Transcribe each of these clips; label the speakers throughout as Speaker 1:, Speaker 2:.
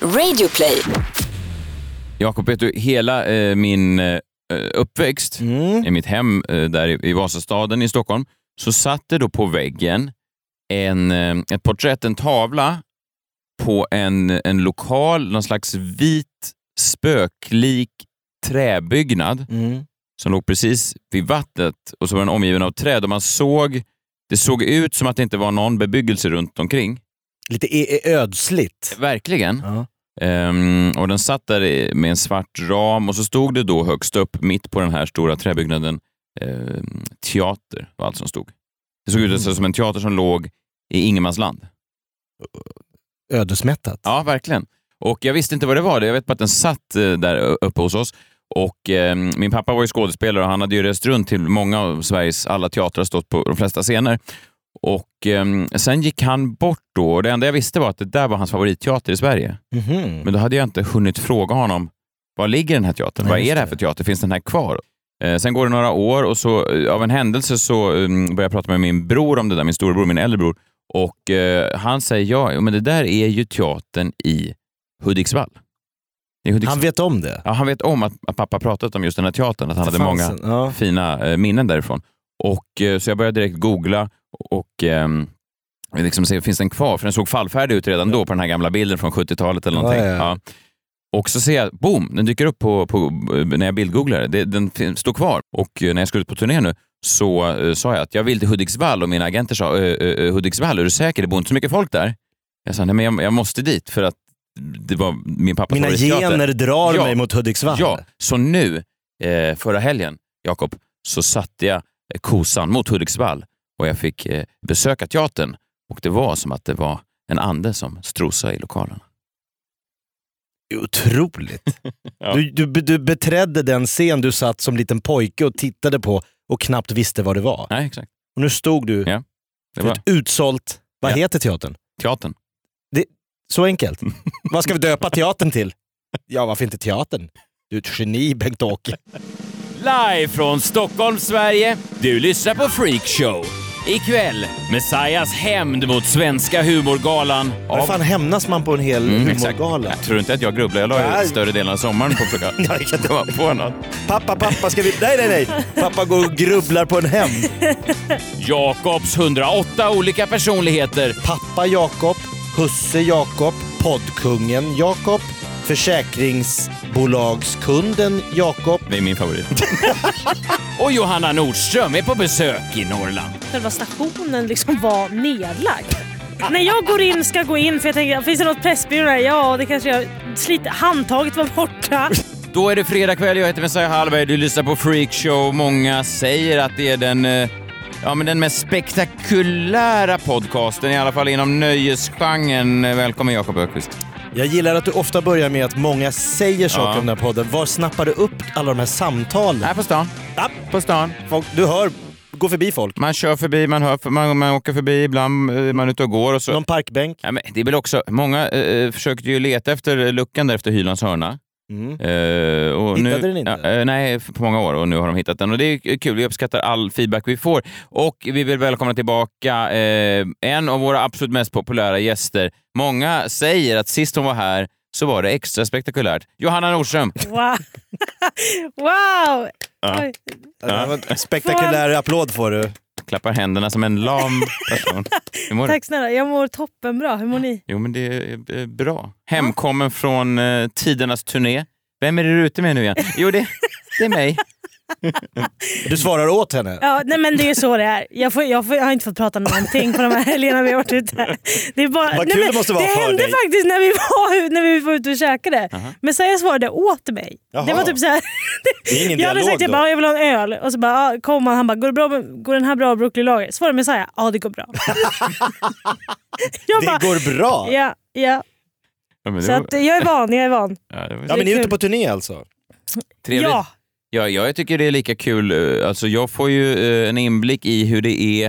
Speaker 1: Radioplay.
Speaker 2: Jakob, vet du, hela eh, min eh, uppväxt
Speaker 3: Mm.
Speaker 2: i mitt hem eh, där i, i Vasastaden i Stockholm så satt det då på väggen en, eh, ett porträtt, en tavla på en, en lokal, någon slags vit spöklik träbyggnad
Speaker 3: Mm.
Speaker 2: som låg precis vid vattnet och så var den omgiven av träd och man såg, det såg ut som att det inte var någon bebyggelse runt omkring.
Speaker 3: Lite e- e- ödsligt.
Speaker 2: Verkligen.
Speaker 3: Ja.
Speaker 2: Ehm, och den satt där i- med en svart ram och så stod det då högst upp, mitt på den här stora träbyggnaden, ehm, teater var allt som stod. Det såg ut nästan som en teater som låg i ingenmansland.
Speaker 3: Ödesmättat.
Speaker 2: Ja, verkligen. Och jag visste inte vad det var. Jag vet bara att den satt eh, där ö- uppe hos oss. Och ehm, min pappa var ju skådespelare och han hade ju rest runt till många av Sveriges alla teatrar och stått på de flesta scener. Och ehm, sen gick han bort då och det enda jag visste var att det där var hans favoritteater i Sverige.
Speaker 3: Mhm.
Speaker 2: Men då hade jag inte hunnit fråga honom, var ligger den här teatern?
Speaker 3: Nej,
Speaker 2: Vad
Speaker 3: just
Speaker 2: är det här
Speaker 3: det.
Speaker 2: för teater? Finns den här kvar? Eh, sen går det några år och så eh, av en händelse så um, börjar jag prata med min bror om det där, min storebror, min äldre bror. Och eh, han säger, ja, jo, men det där är ju teatern i Hudiksvall. I Hudiksvall.
Speaker 3: Han
Speaker 2: Han,
Speaker 3: vet om det.
Speaker 2: ja, han vet om att, att pappa pratat om just den här teatern, att han
Speaker 3: Det
Speaker 2: hade
Speaker 3: fanns
Speaker 2: många
Speaker 3: en- Ja.
Speaker 2: fina eh, minnen därifrån. Och, eh, så jag började direkt googla och ehm, liksom se, finns den kvar? För den såg fallfärdig ut redan då på den här gamla bilden från 70-talet eller
Speaker 3: Ja,
Speaker 2: någonting.
Speaker 3: ja, ja.
Speaker 2: Och så ser jag, boom, den dyker upp på, på, när jag bildgooglar. Det, den fin- står kvar. Och eh, när jag skulle ut på turné nu så eh, sa jag att jag vill till Hudiksvall och mina agenter sa, eh, eh, Hudiksvall, är du säker? Det bor inte så mycket folk där. Jag sa, nej men jag, jag måste dit för att det var min pappas
Speaker 3: Mina
Speaker 2: favoritteater.
Speaker 3: gener drar
Speaker 2: Ja.
Speaker 3: mig mot Hudiksvall.
Speaker 2: Ja, så nu, eh, förra helgen, Jakob, så satte jag eh, kosan mot Hudiksvall och jag fick eh, besöka teatern och det var som att det var en ande som strosade i lokalen.
Speaker 3: Det är Otroligt.
Speaker 2: Ja.
Speaker 3: du, du, du beträdde den scen du satt som liten pojke och tittade på och knappt visste vad det var.
Speaker 2: Nej, exakt.
Speaker 3: Och nu stod du
Speaker 2: Ja, Det
Speaker 3: för
Speaker 2: var
Speaker 3: ett utsålt... Vad
Speaker 2: Ja.
Speaker 3: heter teatern?
Speaker 2: teatern.
Speaker 3: Så enkelt. vad ska vi döpa teatern till? Ja, varför inte teatern? Du är ett geni, Bengt-Åke.
Speaker 2: Live från Stockholm, Sverige. Du lyssnar på Freakshow. Ikväll, Messias hämnd mot svenska humorgalan.
Speaker 3: Hur fan hämnas man på en hel
Speaker 2: Mm, exakt.
Speaker 3: humorgala?
Speaker 2: Jag tror inte att jag grubblar. Jag la ju
Speaker 3: Nej.
Speaker 2: större delen av sommaren på att försöka
Speaker 3: Nej, jag kan inte-
Speaker 2: komma på något.
Speaker 3: Pappa, pappa, ska vi... Nej, nej, nej! Pappa går och grubblar på en hem.
Speaker 2: Jakobs 108 olika personligheter
Speaker 3: Pappa Jakob, husse Jakob, poddkungen Jakob, försäkringsbolagskunden Jakob.
Speaker 2: Det är min favorit. och Johanna Nordström är på besök i Norrland.
Speaker 4: själva stationen liksom var nedlagd. När jag går in ska gå in för jag tänker, finns det något pressbyrå här? Ja, det kanske jag... Slit, handtaget var borta.
Speaker 2: Då är det fredag kväll, jag heter Messiah Hallberg, du lyssnar på Freakshow. Många säger att det är den, eh, ja, men den mest spektakulära podcasten, i alla fall inom nöjesgenren. Välkommen Jakob Öqvist.
Speaker 3: Jag gillar att du ofta börjar med att många säger saker
Speaker 2: Ja.
Speaker 3: om den här podden. Var snappar du upp alla de här samtalen?
Speaker 2: Här på stan,
Speaker 3: Ja,
Speaker 2: på stan.
Speaker 3: folk, du hör, gå förbi folk.
Speaker 2: Man kör förbi, man, hör, man, man åker förbi, ibland eh, man är ute och går och så.
Speaker 3: Någon parkbänk.
Speaker 2: Ja, men det är väl också, många eh, försökte ju leta efter luckan där efter Hylands hörna.
Speaker 3: Mm.
Speaker 2: Eh, och
Speaker 3: Hittade
Speaker 2: nu,
Speaker 3: den inte?
Speaker 2: Ja, eh, nej, för- på många år och nu har de hittat den. Och Det är kul, vi uppskattar all feedback vi får. Och vi vill välkomna tillbaka eh, en av våra absolut mest populära gäster. Många säger att sist hon var här så var det extra spektakulärt. Johanna Nordström!
Speaker 4: Wow! wow. Oj.
Speaker 3: Ja, det var en Spektakulär applåd får du.
Speaker 2: Klappar händerna som en lam person. Hur mår du?
Speaker 4: Tack snälla, jag mår toppen bra. Hur mår ni?
Speaker 2: Jo, men det är eh, bra. Hemkommen från eh, tidernas turné. Vem är det du är ute med nu igen? Jo, det, det är mig.
Speaker 3: Du svarar åt henne.
Speaker 4: Ja, nej men det är så det är. Jag, får, jag, får, jag har inte fått prata någonting på de här helgerna vi har varit ute. Det är bara,
Speaker 3: Vad
Speaker 4: nej,
Speaker 3: kul
Speaker 4: men
Speaker 3: det måste vara
Speaker 4: Det
Speaker 3: för
Speaker 4: hände
Speaker 3: dig.
Speaker 4: faktiskt när vi var, när vi var ute och käkade. Men Saja svarade åt mig. Det
Speaker 3: Jaha.
Speaker 4: var typ så här.
Speaker 3: Det är ingen
Speaker 4: jag hade
Speaker 3: dialog
Speaker 4: sagt jag
Speaker 3: då.
Speaker 4: bara, jag vill ha en öl och så bara, ah, kom han. Han bara, går, det bra med, går den här bra Brooklyn Lager? Svarade Messiah, ja det går bra. jag
Speaker 3: det
Speaker 4: bara,
Speaker 3: går bra.
Speaker 4: ja, ja.
Speaker 2: Ja, men det
Speaker 4: Så
Speaker 2: var-
Speaker 4: att, eh, jag är van, jag är van.
Speaker 2: ja, det var
Speaker 3: Ja, men ni är
Speaker 4: Det är
Speaker 3: ute på turné alltså?
Speaker 2: trevligt.
Speaker 4: Ja,
Speaker 2: Ja, jag tycker det är lika kul. Eh, Alltså, jag får ju eh, en inblick i hur det är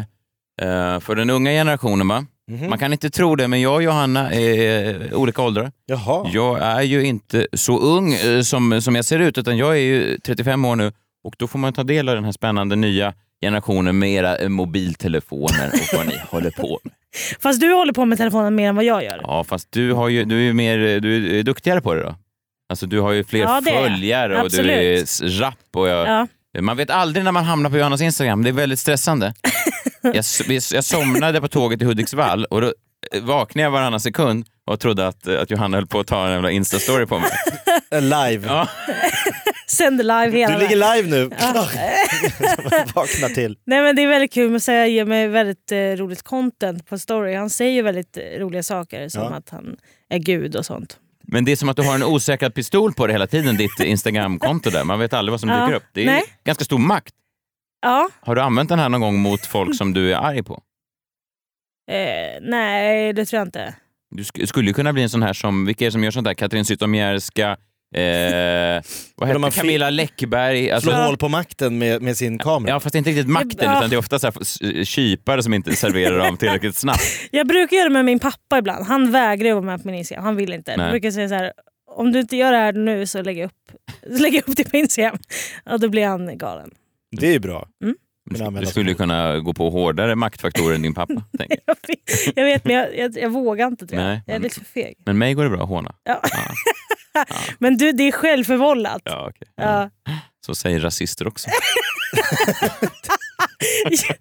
Speaker 2: eh, för den unga generationen.
Speaker 4: Mm.
Speaker 2: Va?
Speaker 3: Mhm.
Speaker 2: Man kan inte tro det, men jag och Johanna är eh, olika åldrar.
Speaker 3: Jaha.
Speaker 2: Jag är ju inte så ung eh, som, som jag ser ut, utan jag är ju 35 år nu och då får man ta del av den här spännande nya generationen med era eh, mobiltelefoner och vad ni håller på med.
Speaker 4: Fast du håller på med telefonen mer än vad jag gör.
Speaker 2: Ja, fast du, har ju, du är ju mer, eh, du är duktigare på det då. Alltså du har ju fler
Speaker 4: Ja, det är jag.
Speaker 2: följare och du är
Speaker 4: Absolut.
Speaker 2: s- rapp. Och jag,
Speaker 4: Ja.
Speaker 2: Man vet aldrig när man hamnar på Johannas Instagram. Det är väldigt stressande. jag, s- vi- jag somnade på tåget till Hudiksvall och då eh, vaknade jag varannan sekund och trodde att, eh, att Johanna höll på att ta en jävla Insta-story på mig.
Speaker 3: Live.
Speaker 2: Ja.
Speaker 4: Sänder live hela
Speaker 3: Du ligger
Speaker 4: vägen.
Speaker 3: live nu. Vakna till.
Speaker 4: Nej men det är väldigt kul, Messiah ger mig väldigt eh, roligt content på story. Han säger ju väldigt eh, roliga saker som
Speaker 3: Ja.
Speaker 4: att han är gud och sånt.
Speaker 2: Men det är som att du har en osäkrad pistol på dig hela tiden, ditt Instagram-konto där. Man vet aldrig vad som
Speaker 4: Ja.
Speaker 2: dyker upp. Det är
Speaker 4: Nej.
Speaker 2: ganska stor makt.
Speaker 4: Ja,
Speaker 2: Har du använt den här någon gång mot folk som du är arg på?
Speaker 4: eh, nej det tror jag inte.
Speaker 2: Du sk- skulle ju kunna bli en sån här som, vilka är det som gör sånt där? Katrin Zytomierska, eh, vad
Speaker 3: om
Speaker 2: heter
Speaker 3: man
Speaker 2: Camilla Läckberg.
Speaker 3: Slå
Speaker 2: Alltså,
Speaker 3: hål på makten med, med sin kamera.
Speaker 2: ja, fast det är inte riktigt makten,
Speaker 4: Ja.
Speaker 2: utan det är ofta så här, s- eh, kypare som inte serverar dem tillräckligt snabbt.
Speaker 4: Jag brukar göra det med min pappa ibland. Han vägrar ju vara med på min Instagram. Han vill inte.
Speaker 2: Nej.
Speaker 4: Jag brukar säga så här. Om du inte gör det här nu så lägger jag upp, så lägger jag upp det på Instagram. Och då blir han galen.
Speaker 3: Det är ju bra.
Speaker 2: Du,
Speaker 3: Men
Speaker 2: sk-
Speaker 3: använda
Speaker 2: du skulle ju kunna gå på hårdare maktfaktorer än din pappa. tänker jag.
Speaker 4: Jag vet- Jag vet men jag, jag, jag vågar inte tror jag.
Speaker 2: Nej,
Speaker 4: jag är
Speaker 2: men-
Speaker 4: lite för feg.
Speaker 2: Men mig går det bra att håna.
Speaker 4: Ja. Men du, det är självförvållat. Ja.
Speaker 2: Ja, okej.
Speaker 3: Mm.
Speaker 4: Ja.
Speaker 2: Så säger rasister också.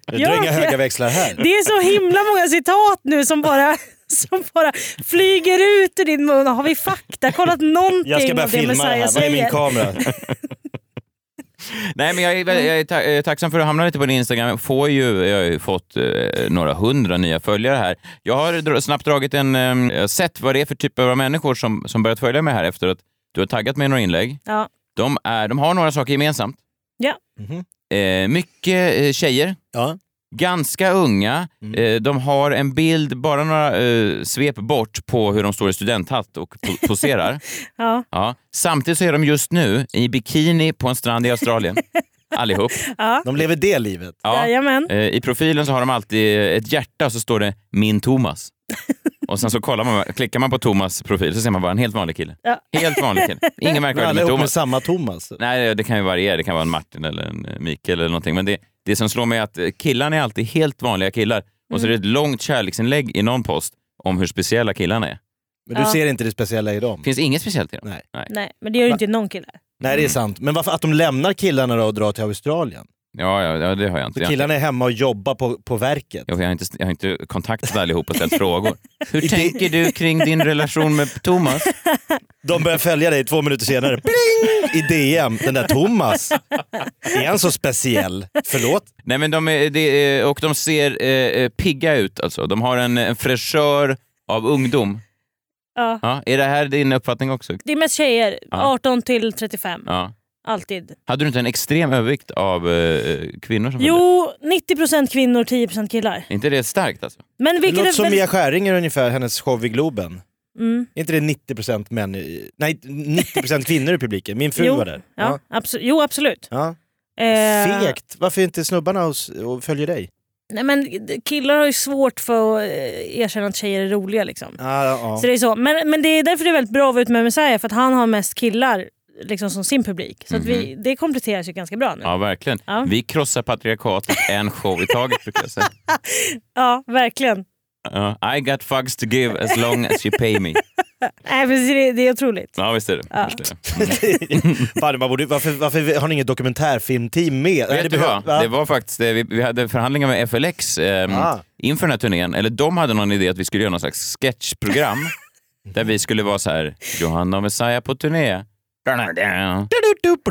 Speaker 3: Du drar inga
Speaker 4: Ja,
Speaker 3: höga växlar här.
Speaker 4: Det är så himla många citat nu som bara, som bara flyger ut ur din mun. Har vi fakta? Kollat någonting
Speaker 3: Jag ska börja
Speaker 4: av det
Speaker 3: filma det
Speaker 4: Messiah
Speaker 3: här. Vad är min
Speaker 4: säger?
Speaker 3: kamera?
Speaker 2: Nej, men jag är, väl- jag är ta- eh, tacksam för att hamna lite på din Instagram. Jag Får ju, jag har ju fått eh, några hundra nya följare här. Jag har dra- snabbt dragit en... eh, jag har sett vad det är för typ av människor som, som börjat följa mig här efter att du har taggat mig i några inlägg.
Speaker 4: Ja.
Speaker 2: De, är, de har några saker gemensamt.
Speaker 4: Ja.
Speaker 3: Mhm.
Speaker 2: Eh, mycket eh, tjejer.
Speaker 3: Ja.
Speaker 2: Ganska unga. Eh, de har en bild, bara några eh, svep bort, på hur de står i studenthatt och po- poserar.
Speaker 4: Ja.
Speaker 2: ja. Samtidigt så är de just nu i bikini på en strand i Australien. Allihop.
Speaker 4: Ja.
Speaker 3: De lever det livet.
Speaker 2: Ja.
Speaker 4: Jajamän.
Speaker 2: Eh, I profilen så har de alltid ett hjärta och så står det “Min Thomas”. Och sen så kollar man, klickar man på Thomas profil så ser man bara en helt vanlig kille.
Speaker 4: Ja.
Speaker 2: Helt vanlig kille. Ingen
Speaker 3: Men
Speaker 2: märkvärdig
Speaker 3: alla
Speaker 2: med
Speaker 3: ihop med
Speaker 2: Thomas.
Speaker 3: samma Thomas.
Speaker 2: Nej, det kan ju variera. Det kan vara en Martin eller en eh, Mikael eller någonting. Men det, det som slår mig är att eh, killarna är alltid helt vanliga killar. Och så är det ett långt kärleksinlägg i någon post om hur speciella killarna är.
Speaker 3: Men du
Speaker 4: Ja.
Speaker 3: ser inte det speciella i dem.
Speaker 2: Det finns inget speciellt i dem.
Speaker 3: Nej.
Speaker 4: Nej, men det gör ju inte någon kille.
Speaker 3: Nej, det
Speaker 2: Mm.
Speaker 3: är sant. Men varför att de lämnar killarna då och drar till Australien?
Speaker 2: Ja, ja, ja det har jag inte. Jag,
Speaker 3: Killarna är hemma och jobbar på, på verket.
Speaker 2: jag, har inte jag har inte kontaktat allihopa och ställt frågor. Hur
Speaker 3: det-
Speaker 2: tänker du kring din relation med Thomas?
Speaker 3: De börjar följa dig två minuter senare. Bling! I DM. Den där Thomas. Är han så speciell? Förlåt?
Speaker 2: Nej, men de är, det är, och de ser eh, eh, pigga ut alltså. De har en, en fräschör av ungdom.
Speaker 4: Ja.
Speaker 2: Ja, är det här din uppfattning också?
Speaker 4: Det är mest tjejer,
Speaker 2: Ja.
Speaker 4: 18 till 35.
Speaker 2: Ja.
Speaker 4: Alltid. Hade
Speaker 2: Hade du inte en extrem övervikt av eh, kvinnor som följde?
Speaker 4: Jo, 90% kvinnor, 10% killar.
Speaker 2: Är inte det starkt alltså?
Speaker 4: Men
Speaker 3: Det
Speaker 4: vilket
Speaker 3: låter
Speaker 4: är
Speaker 3: som
Speaker 4: väl...
Speaker 3: Mia Skäringer ungefär, hennes show i Globen.
Speaker 4: Mm.
Speaker 3: Är inte det 90% män i, Nej, 90% kvinnor i publiken. Min fru
Speaker 4: Jo,
Speaker 3: var där.
Speaker 4: Ja, abso- jo, absolut.
Speaker 3: Ja.
Speaker 4: Eh,
Speaker 3: Fegt. Varför är inte snubbarna hos, och följer dig?
Speaker 4: Nej, men killar har ju svårt för att eh, erkänna att tjejer är roliga. Liksom.
Speaker 2: Ah,
Speaker 3: Ja, ja.
Speaker 4: Så det är så. Men, men det är därför det är väldigt bra att vara ute med Messiah, för att han har mest killar liksom, som sin publik. Så att vi, det kompletteras ju ganska bra nu. Ja,
Speaker 2: Mhm. Ja, verkligen.
Speaker 4: Ja.
Speaker 2: Vi krossar patriarkatet en show i taget brukar jag säga.
Speaker 4: verkligen.
Speaker 2: Ja, I got fucks to give as long as you pay me.
Speaker 4: Nej, precis, det, det är otroligt.
Speaker 2: Ja, visst är det.
Speaker 4: Ja.
Speaker 2: Visst är det.
Speaker 3: Fan, man borde, varför, varför har ni inget dokumentärfilmteam med? Nej,
Speaker 2: Vet du
Speaker 3: behöver-
Speaker 2: vad? Det var faktiskt, eh, vi, vi hade förhandlingar med FLX ehm,
Speaker 3: Ah.
Speaker 2: inför den här turnén. Eller de hade någon idé att vi skulle göra någon slags sketchprogram där vi skulle vara så här, Johanna och Messiah på turné.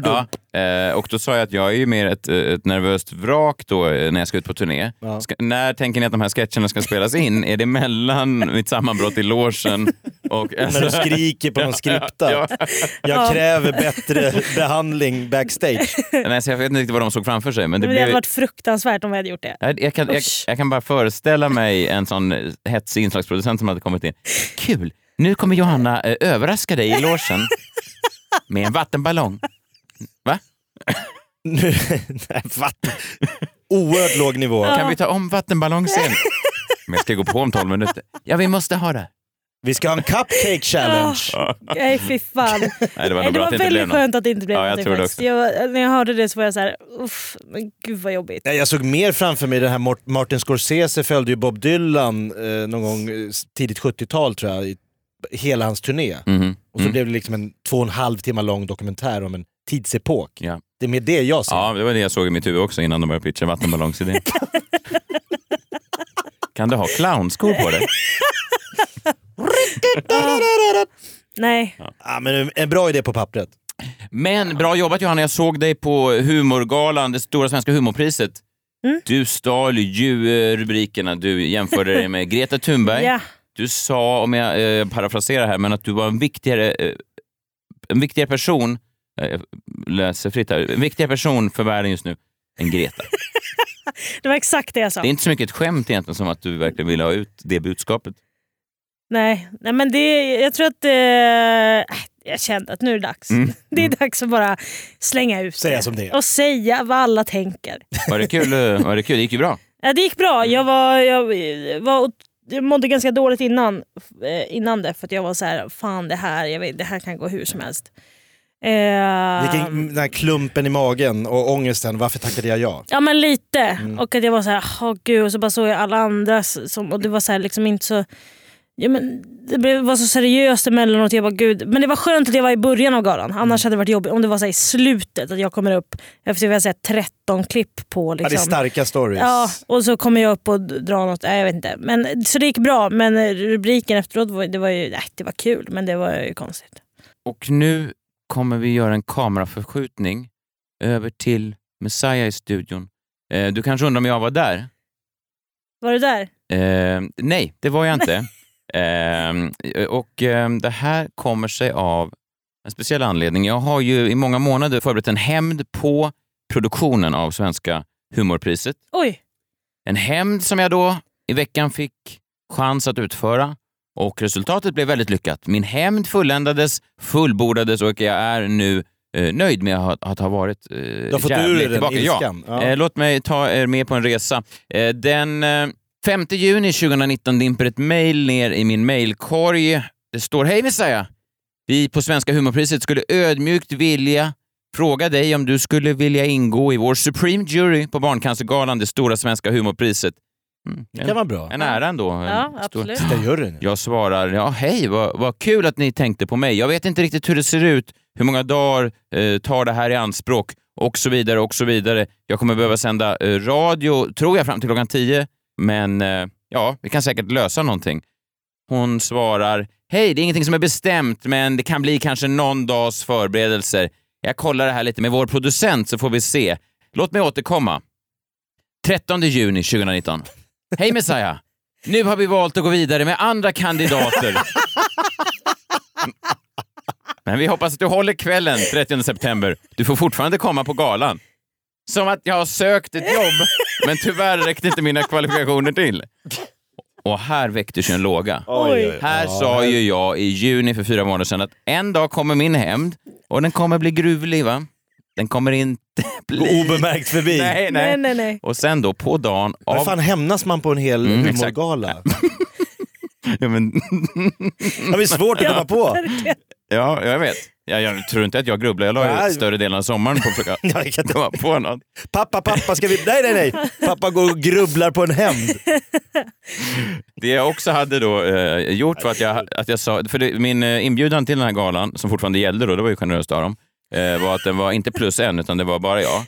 Speaker 2: Ja, eh, och då sa jag att jag är ju mer ett, eh, ett nervöst vrak då eh, när jag ska ut på turné.
Speaker 3: Ja.
Speaker 2: Ska, när tänker ni att de här sketcherna ska spelas in? är det mellan mitt sammanbrott i logen och...
Speaker 3: När du skriker på någon skripta.
Speaker 2: Ja,
Speaker 3: Jag kräver bättre behandling backstage.
Speaker 2: nej, så jag vet inte riktigt vad de såg framför sig. Men det
Speaker 4: Det, det
Speaker 2: blev...
Speaker 4: hade varit fruktansvärt om vi hade gjort det.
Speaker 2: Jag, jag, kan, jag,
Speaker 4: Usch.
Speaker 2: jag kan bara föreställa mig en sån eh, hetsig inslagsproducent som hade kommit in. Kul! Nu kommer Johanna eh, överraska dig i logen med en vattenballong. Va?
Speaker 3: Nu, nej, vatten. Oerhört låg nivå.
Speaker 2: Kan vi ta om vattenballongsscenen? Men jag ska gå på om 12 minuter. Ja, vi måste ha det.
Speaker 3: Vi ska ha en cupcake challenge.
Speaker 4: Nej fy fan.
Speaker 2: Nej, det var nog
Speaker 4: Nej, Eh, det
Speaker 2: bra
Speaker 4: var
Speaker 2: att det inte blev
Speaker 4: väldigt
Speaker 2: något.
Speaker 4: skönt att det inte blev
Speaker 2: Ja, jag
Speaker 4: någonting
Speaker 2: tror det
Speaker 4: faktiskt. Jag, när jag hörde det så var jag så här, uff, men gud vad jobbigt.
Speaker 3: Nej, Jag såg mer framför mig det här Mort- Martin Scorsese följde ju Bob Dylan eh, någon gång eh, tidigt 70-tal tror jag, i hela hans turné.
Speaker 2: Mhm.
Speaker 3: Och så
Speaker 2: Mm.
Speaker 3: blev det liksom en två och en halv timme lång dokumentär om en tidsepok.
Speaker 2: Ja.
Speaker 3: Det är mer det jag ser.
Speaker 2: Ja, det var det jag såg i mitt huvud också innan de började pitcha vattenballongsidén. kan du ha clownskor på dig?
Speaker 4: Nej,
Speaker 3: Ah, men en- en bra idé på pappret.
Speaker 2: Men bra jobbat Johanna, jag såg dig på humorgalan, det stora svenska humorpriset. Du stal ju eh, rubrikerna, du jämförde dig med Greta Thunberg.
Speaker 4: ja.
Speaker 2: Du sa, om jag eh, parafraserar här, men att du var en viktigare, eh, en viktigare person, eh, jag läser fritt här, en viktigare person för världen just nu än Greta.
Speaker 4: Det var exakt det jag sa.
Speaker 2: Det är inte så mycket ett skämt egentligen som att du verkligen ville ha ut det budskapet.
Speaker 4: Nej, nej men det, jag tror att... Eh, jag kände att nu är det dags.
Speaker 2: Mm.
Speaker 4: Det är dags att bara slänga ut
Speaker 3: Säga
Speaker 4: det.
Speaker 3: som det är.
Speaker 4: Och säga vad alla tänker.
Speaker 2: Var det kul? eh, Var det, kul? det gick ju bra.
Speaker 4: Ja, det gick
Speaker 2: Mm.
Speaker 4: bra. Jag, var, jag, eh, var, ot- jag mådde ganska dåligt innan, eh, innan det för att jag var så här, fan det här, jag vet, det här kan gå hur som helst. Ehm, Eh,
Speaker 3: Vilken, den här klumpen i magen och ångesten, varför tackade jag ja?
Speaker 4: Ja men lite. Och att jag var så här, åh gud. Och så bara såg jag alla andra som, och det var så här, liksom inte så... Ja, men det blev, var så seriöst emellanåt. Jag bara, gud. Men det var skönt att det var i början av galan. Annars hade det varit jobbigt om det var så här, i slutet. Att jag kommer upp efter vi har sett 13 klipp på.
Speaker 3: Ja, det är
Speaker 4: Liksom.
Speaker 3: starka stories.
Speaker 4: Ja, och så kommer jag upp och d- drar något. Nej, jag vet inte. Men, så det gick bra. Men eh, rubriken efteråt var, det var ju nej, det var kul, men det var ju konstigt.
Speaker 2: Och nu kommer vi göra en kameraförskjutning över till Messiah i studion. Eh, Du kanske undrar om jag var där?
Speaker 4: Var det där?
Speaker 2: Eh, nej, det var jag inte. eh, och eh, Det här kommer sig av en speciell anledning. Jag har ju i många månader förberett en hämnd på produktionen av Svenska humorpriset.
Speaker 4: Oj!
Speaker 2: En hämnd som jag då i veckan fick chans att utföra och resultatet blev väldigt lyckat. Min hämnd fulländades, fullbordades och jag är nu eh, nöjd med att ha, att ha varit eh,
Speaker 3: Du har fått ur
Speaker 2: jävligt
Speaker 3: dig den
Speaker 2: tillbaka. Ja.
Speaker 3: ilskan. Ja.
Speaker 2: Eh, låt mig ta er med på en resa. Eh, den eh, 5 juni 2019 dimper ett mejl ner i min mejlkorg. Det står Hej Messiah! Vi på Svenska humorpriset skulle ödmjukt vilja fråga dig om du skulle vilja ingå i vår Supreme Jury på Barncancergalan, det stora svenska humorpriset. Mm,
Speaker 3: Det kan
Speaker 2: en,
Speaker 3: vara bra.
Speaker 2: en ära ändå. En
Speaker 4: Ja,
Speaker 2: stor-
Speaker 4: absolut.
Speaker 3: Det gör det nu.
Speaker 2: jag svarar, ja hej, vad, vad kul att ni tänkte på mig. Jag vet inte riktigt hur det ser ut, hur många dagar eh, tar det här i anspråk och så vidare och så vidare. Jag kommer behöva sända eh, radio, tror jag, fram till klockan 10. Men eh, ja, vi kan säkert lösa någonting. Hon svarar, hej, det är ingenting som är bestämt, men det kan bli kanske någon dags förberedelser. Jag kollar det här lite med vår producent så får vi se. Låt mig återkomma. 13 juni 2019. Hej Messiah! Nu har vi valt att gå vidare med andra kandidater. Men vi hoppas att du håller kvällen 30 september. Du får fortfarande komma på galan. Som att jag har sökt ett jobb, men tyvärr räckte inte mina kvalifikationer till. Och här väcktes ju en låga.
Speaker 4: Oj.
Speaker 2: Här sa ju jag i juni för fyra månader sedan att en dag kommer min hämnd och den kommer bli gruvlig va? Den kommer inte bli...
Speaker 3: Obemärkt förbi.
Speaker 2: Nej,
Speaker 4: Nej,
Speaker 2: nej.
Speaker 4: nej, nej.
Speaker 2: Och sen då på dagen
Speaker 3: Hur
Speaker 2: av...
Speaker 3: fan hämnas man på en hel
Speaker 2: Mm, exakt.
Speaker 3: humorgala?
Speaker 2: Ja, men...
Speaker 3: Ja, det är svårt att komma på.
Speaker 2: ja, jag vet. Jag, jag tror inte att jag grubblar. Jag la
Speaker 3: Nej.
Speaker 2: ju större delen av sommaren på att försöka
Speaker 3: Ja, jag kan inte-
Speaker 2: komma på något.
Speaker 3: Pappa, pappa, ska vi... Nej, nej, nej. Pappa går och grubblar på en hämnd.
Speaker 2: Det jag också hade då eh, gjort var att jag, att jag sa, för det, min eh, inbjudan till den här galan, som fortfarande gällde då, det var ju generöst av dem, eh, var att den var inte plus en, utan det var bara jag.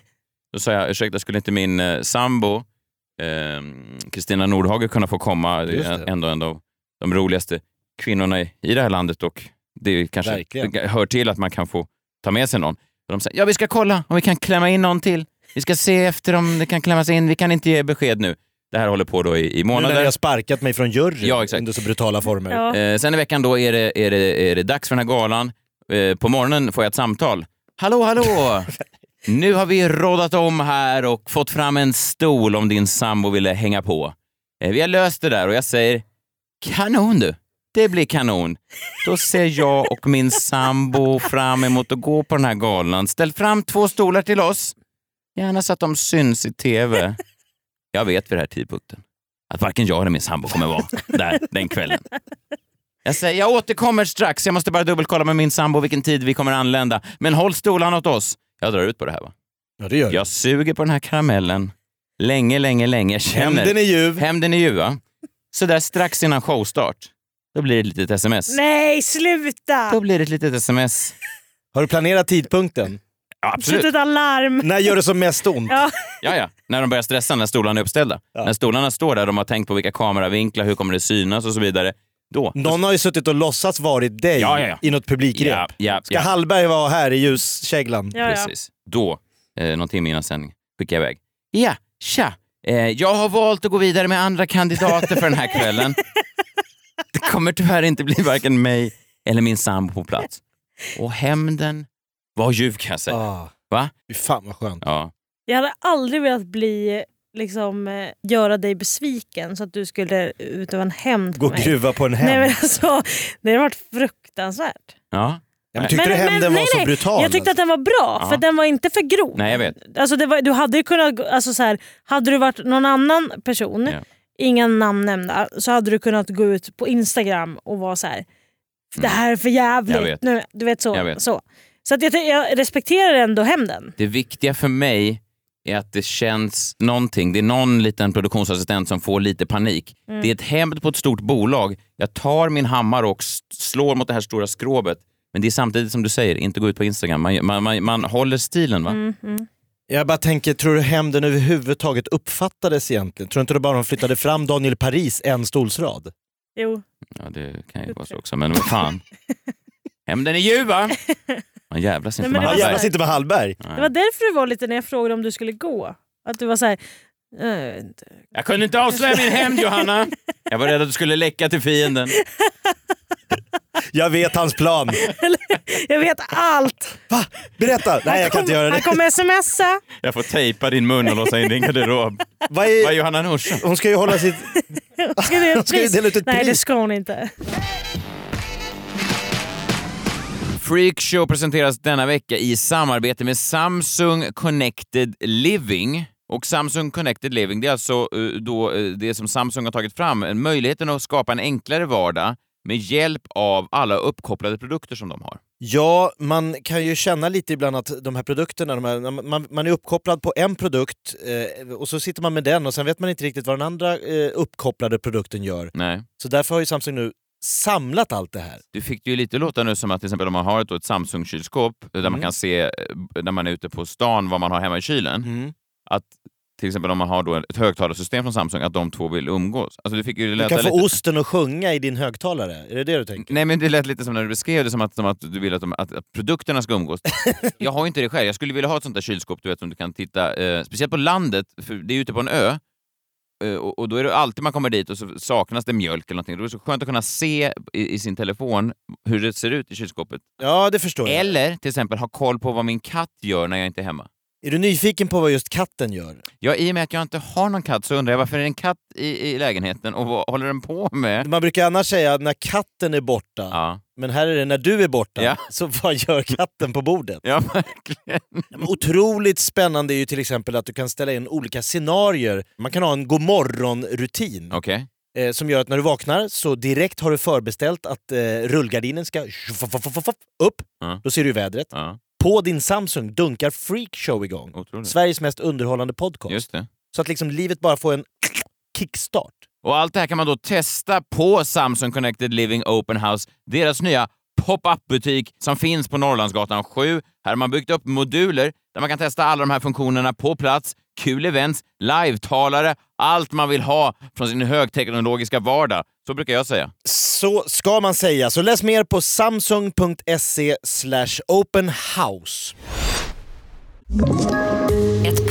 Speaker 2: Då sa jag, ursäkta, skulle inte min eh, sambo eh, Kristina Nordhage kunna få komma? Det
Speaker 3: Just
Speaker 2: är
Speaker 3: det.
Speaker 2: ändå en av de roligaste kvinnorna i, i det här landet och det är kanske
Speaker 3: Verkligen.
Speaker 2: det hör till att man kan få ta med sig någon. Och de säger, ja vi ska kolla om vi kan klämma in någon till. Vi ska se efter om det kan klämmas in. Vi kan inte ge besked nu. Det här håller på då i, i
Speaker 3: Nu när
Speaker 2: månader.
Speaker 3: ni har sparkat mig från juryn
Speaker 2: Ja, exakt.
Speaker 3: under så brutala former.
Speaker 4: Ja.
Speaker 2: Eh, sen i veckan då är det, är, det, är det dags för den här galan. Eh, på morgonen får jag ett samtal. Hallå, hallå! nu har vi rådat om här och fått fram en stol om din sambo ville hänga på. Eh, vi har löst det där och jag säger kanon du. Det blir kanon. Då ser jag och min sambo fram emot att gå på den här galan. Ställ fram två stolar till oss. Gärna så att de syns i tv. Jag vet vid den här tidpunkten att varken jag eller min sambo kommer vara där den kvällen. Jag säger, jag återkommer strax. Jag måste bara dubbelkolla med min sambo vilken tid vi kommer anlända. Men håll stolarna åt oss. Jag drar ut på det här va.
Speaker 3: Ja, det gör
Speaker 2: Jag suger på den här karamellen. Länge, länge, länge. Jag känner...
Speaker 3: Hämnden är ljuv.
Speaker 2: Hämnden är ju va? Så där strax innan showstart. Då blir det ett litet sms.
Speaker 4: Nej, sluta!
Speaker 2: Då blir det ett litet sms.
Speaker 3: Har du planerat tidpunkten?
Speaker 2: Ja,
Speaker 4: Sätt
Speaker 2: absolut.
Speaker 4: ett alarm.
Speaker 3: När gör det som mest ont?
Speaker 4: Ja.
Speaker 2: Ja, ja. När de börjar stressa när stolarna är uppställda.
Speaker 3: Ja.
Speaker 2: När stolarna står där, de har tänkt på vilka kameravinklar, hur kommer det synas och så vidare. Då.
Speaker 3: Någon har ju suttit och låtsats varit dig
Speaker 2: Ja, ja, ja.
Speaker 3: i något publikgrep.
Speaker 2: Ja, ja,
Speaker 3: Ska
Speaker 2: ja.
Speaker 3: Hallberg vara här i ljuskäglan?
Speaker 4: Ja, ja.
Speaker 2: Precis. Då, eh, någon timme innan sändning, skickar jag iväg. Ja, tja! Eh, jag har valt att gå vidare med andra kandidater för den här kvällen. Det kommer tyvärr inte bli varken mig eller min sambo på plats. Och hämnden var ljuv kan jag säga.
Speaker 3: Ah,
Speaker 2: Va?
Speaker 3: fy fan vad skönt.
Speaker 2: Ja.
Speaker 4: Jag hade aldrig velat bli, liksom, eh, göra dig besviken så att du skulle utöva en hämnd
Speaker 3: Gå
Speaker 4: på
Speaker 3: och
Speaker 4: mig.
Speaker 3: gruva på en hämnd.
Speaker 4: Nej, men alltså, det har varit fruktansvärt.
Speaker 2: ja.
Speaker 3: ja, men tyckte
Speaker 4: Men-
Speaker 3: du hämnden
Speaker 4: men-
Speaker 3: var
Speaker 4: nej,
Speaker 3: så
Speaker 4: nej.
Speaker 3: brutal?
Speaker 4: Jag tyckte att den var bra,
Speaker 2: Ja.
Speaker 4: för den var inte för grov.
Speaker 2: Nej, jag vet.
Speaker 4: Alltså, det var, du hade ju kunnat, gå- alltså, så här, hade du varit någon annan person,
Speaker 2: Ja.
Speaker 4: inga namn nämnda, så hade du kunnat gå ut på Instagram och vara så här. Det här är för
Speaker 2: Mm. Jag
Speaker 4: jävligt.
Speaker 2: vet.
Speaker 4: Nu, du vet så.
Speaker 2: Jag vet.
Speaker 4: Så, så att jag, jag respekterar ändå hämnden.
Speaker 2: Det viktiga för mig är att det känns någonting. Det är någon liten produktionsassistent som får lite panik.
Speaker 4: Mm.
Speaker 2: Det är ett hämnd på ett stort bolag. Jag tar min hammare och s- slår mot det här stora skrovet. Men det är samtidigt som du säger, inte gå ut på Instagram. Man, man, man, man håller stilen va?
Speaker 4: Mm.
Speaker 3: Jag bara tänker, tror du hämnden överhuvudtaget uppfattades egentligen? Tror du inte det bara de flyttade fram Daniel Paris en stolsrad?
Speaker 4: Jo.
Speaker 2: Ja, det kan ju vara så också, men vad fan. Hämnden är ljuv va? Man jävlas inte
Speaker 4: Nej, men
Speaker 2: med Hallberg.
Speaker 3: Han
Speaker 4: det var
Speaker 3: jävlas
Speaker 4: så här-
Speaker 3: inte med Hallberg.
Speaker 4: Det var därför du var lite när jag frågade om du skulle gå. Att du var så här. eh,
Speaker 2: Jag kunde inte avslöja min hämnd Johanna. Jag var rädd att du skulle läcka till fienden.
Speaker 3: Jag vet hans plan.
Speaker 4: jag vet allt.
Speaker 3: Va? Berätta! Nej, jag kan inte göra
Speaker 4: Han
Speaker 3: det.
Speaker 4: kommer smsa.
Speaker 2: Jag får tejpa din mun och låsa in din garderob.
Speaker 3: Vad
Speaker 2: Vad är
Speaker 3: är...
Speaker 2: Johanna Nordström?
Speaker 3: Hon ska ju hålla sitt...
Speaker 4: Ska det
Speaker 3: Hon ska ju
Speaker 4: pris?
Speaker 3: dela ut ett
Speaker 4: Nej, det
Speaker 3: pris.
Speaker 4: ska hon inte.
Speaker 2: Freakshow presenteras denna vecka i samarbete med Samsung Connected Living. Och Samsung Connected Living, det är alltså eh, då eh, det som Samsung har tagit fram, eh, möjligheten att skapa en enklare vardag med hjälp av alla uppkopplade produkter som de har.
Speaker 3: Ja, man kan ju känna lite ibland att de här produkterna, de här, man, man är uppkopplad på en produkt eh, och så sitter man med den och sen vet man inte riktigt vad den andra eh, uppkopplade produkten gör.
Speaker 2: Nej.
Speaker 3: Så därför har ju Samsung nu samlat allt det här.
Speaker 2: Du fick det ju lite låta nu som att till exempel om man har ett, då ett Samsung-kylskåp eh, där man
Speaker 3: Mm.
Speaker 2: kan se eh, när man är ute på stan vad man har hemma i kylen.
Speaker 4: Mm.
Speaker 2: Till exempel om man har då ett högtalarsystem från Samsung, att de två vill umgås. Alltså, du fick ju
Speaker 3: Du
Speaker 2: låta
Speaker 3: kan
Speaker 2: lite...
Speaker 3: få osten att sjunga i din högtalare, är det det du tänker?
Speaker 2: Nej, men det lät lite som när du beskrev det som att, som att du vill att, de, att, att produkterna ska umgås. jag har ju inte det själv. Jag skulle vilja ha ett sånt där kylskåp du vet, som du kan titta, eh, speciellt på landet, för det är ju ute på en ö. Eh, och, och då är det alltid man kommer dit och så saknas det mjölk eller någonting. Då är det så skönt att kunna se i, i sin telefon hur det ser ut i kylskåpet.
Speaker 3: Ja, det förstår jag.
Speaker 2: Eller till exempel ha koll på vad min katt gör när jag inte är hemma.
Speaker 3: Är du nyfiken på vad just katten gör?
Speaker 2: Ja, I och med att jag inte har någon katt så undrar jag varför är det en katt i, i lägenheten och vad håller den på med?
Speaker 3: Man brukar annars säga när katten är borta,
Speaker 2: Ja,
Speaker 3: men här är det när du är borta.
Speaker 2: Ja.
Speaker 3: Så vad gör katten på bordet?
Speaker 2: ja verkligen.
Speaker 3: Men Otroligt spännande är ju till exempel att du kan ställa in olika scenarier. Man kan ha en godmorgon-rutin
Speaker 2: Okej.
Speaker 3: eh, som gör att när du vaknar så direkt har du förbeställt att eh, rullgardinen ska upp.
Speaker 2: Ja.
Speaker 3: Då ser du ju vädret.
Speaker 2: Ja,
Speaker 3: På din Samsung dunkar Freakshow igång.
Speaker 2: otroligt.
Speaker 3: Sveriges mest underhållande podcast.
Speaker 2: Just det.
Speaker 3: Så att liksom livet bara får en kickstart.
Speaker 2: Och allt det här kan man då testa på Samsung Connected Living Open House, deras nya pop-up-butik som finns på Norrlandsgatan 7. Här har man byggt upp moduler där man kan testa alla de här funktionerna på plats, kul events, livetalare, allt man vill ha från sin högteknologiska vardag. Så brukar jag säga.
Speaker 3: Så ska man säga. Så läs mer på samsung.se slash open house.
Speaker 1: Ett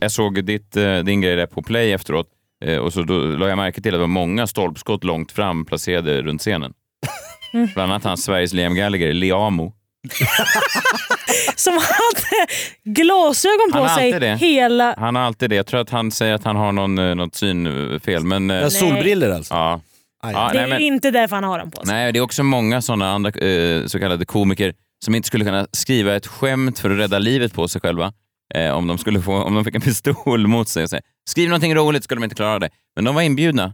Speaker 2: Jag såg ditt, eh, din grej där på Play efteråt. Eh, och så då la jag märke till att det var många stolpskott långt fram placerade runt scenen. Bland annat han Sveriges Liam Gallagher, Liamo.
Speaker 4: Som hade glasögon
Speaker 2: Han
Speaker 4: på
Speaker 2: har
Speaker 4: sig
Speaker 2: alltid det.
Speaker 4: hela...
Speaker 2: Han har alltid det. Jag tror att han säger att han har någon, eh, något synfel, men... eh,
Speaker 3: Ja, solbriller alltså?
Speaker 2: ja.
Speaker 3: Aj.
Speaker 2: Ja,
Speaker 4: Det
Speaker 2: nej,
Speaker 4: är
Speaker 2: men-
Speaker 4: inte därför han har dem på sig.
Speaker 2: Nej, det är också många sådana andra eh, så kallade komiker som inte skulle kunna skriva ett skämt för att rädda livet på sig själva. Eh, om, de skulle få, om de fick en pistol mot sig och säga skriv någonting roligt skulle de inte klara det. Men de var inbjudna.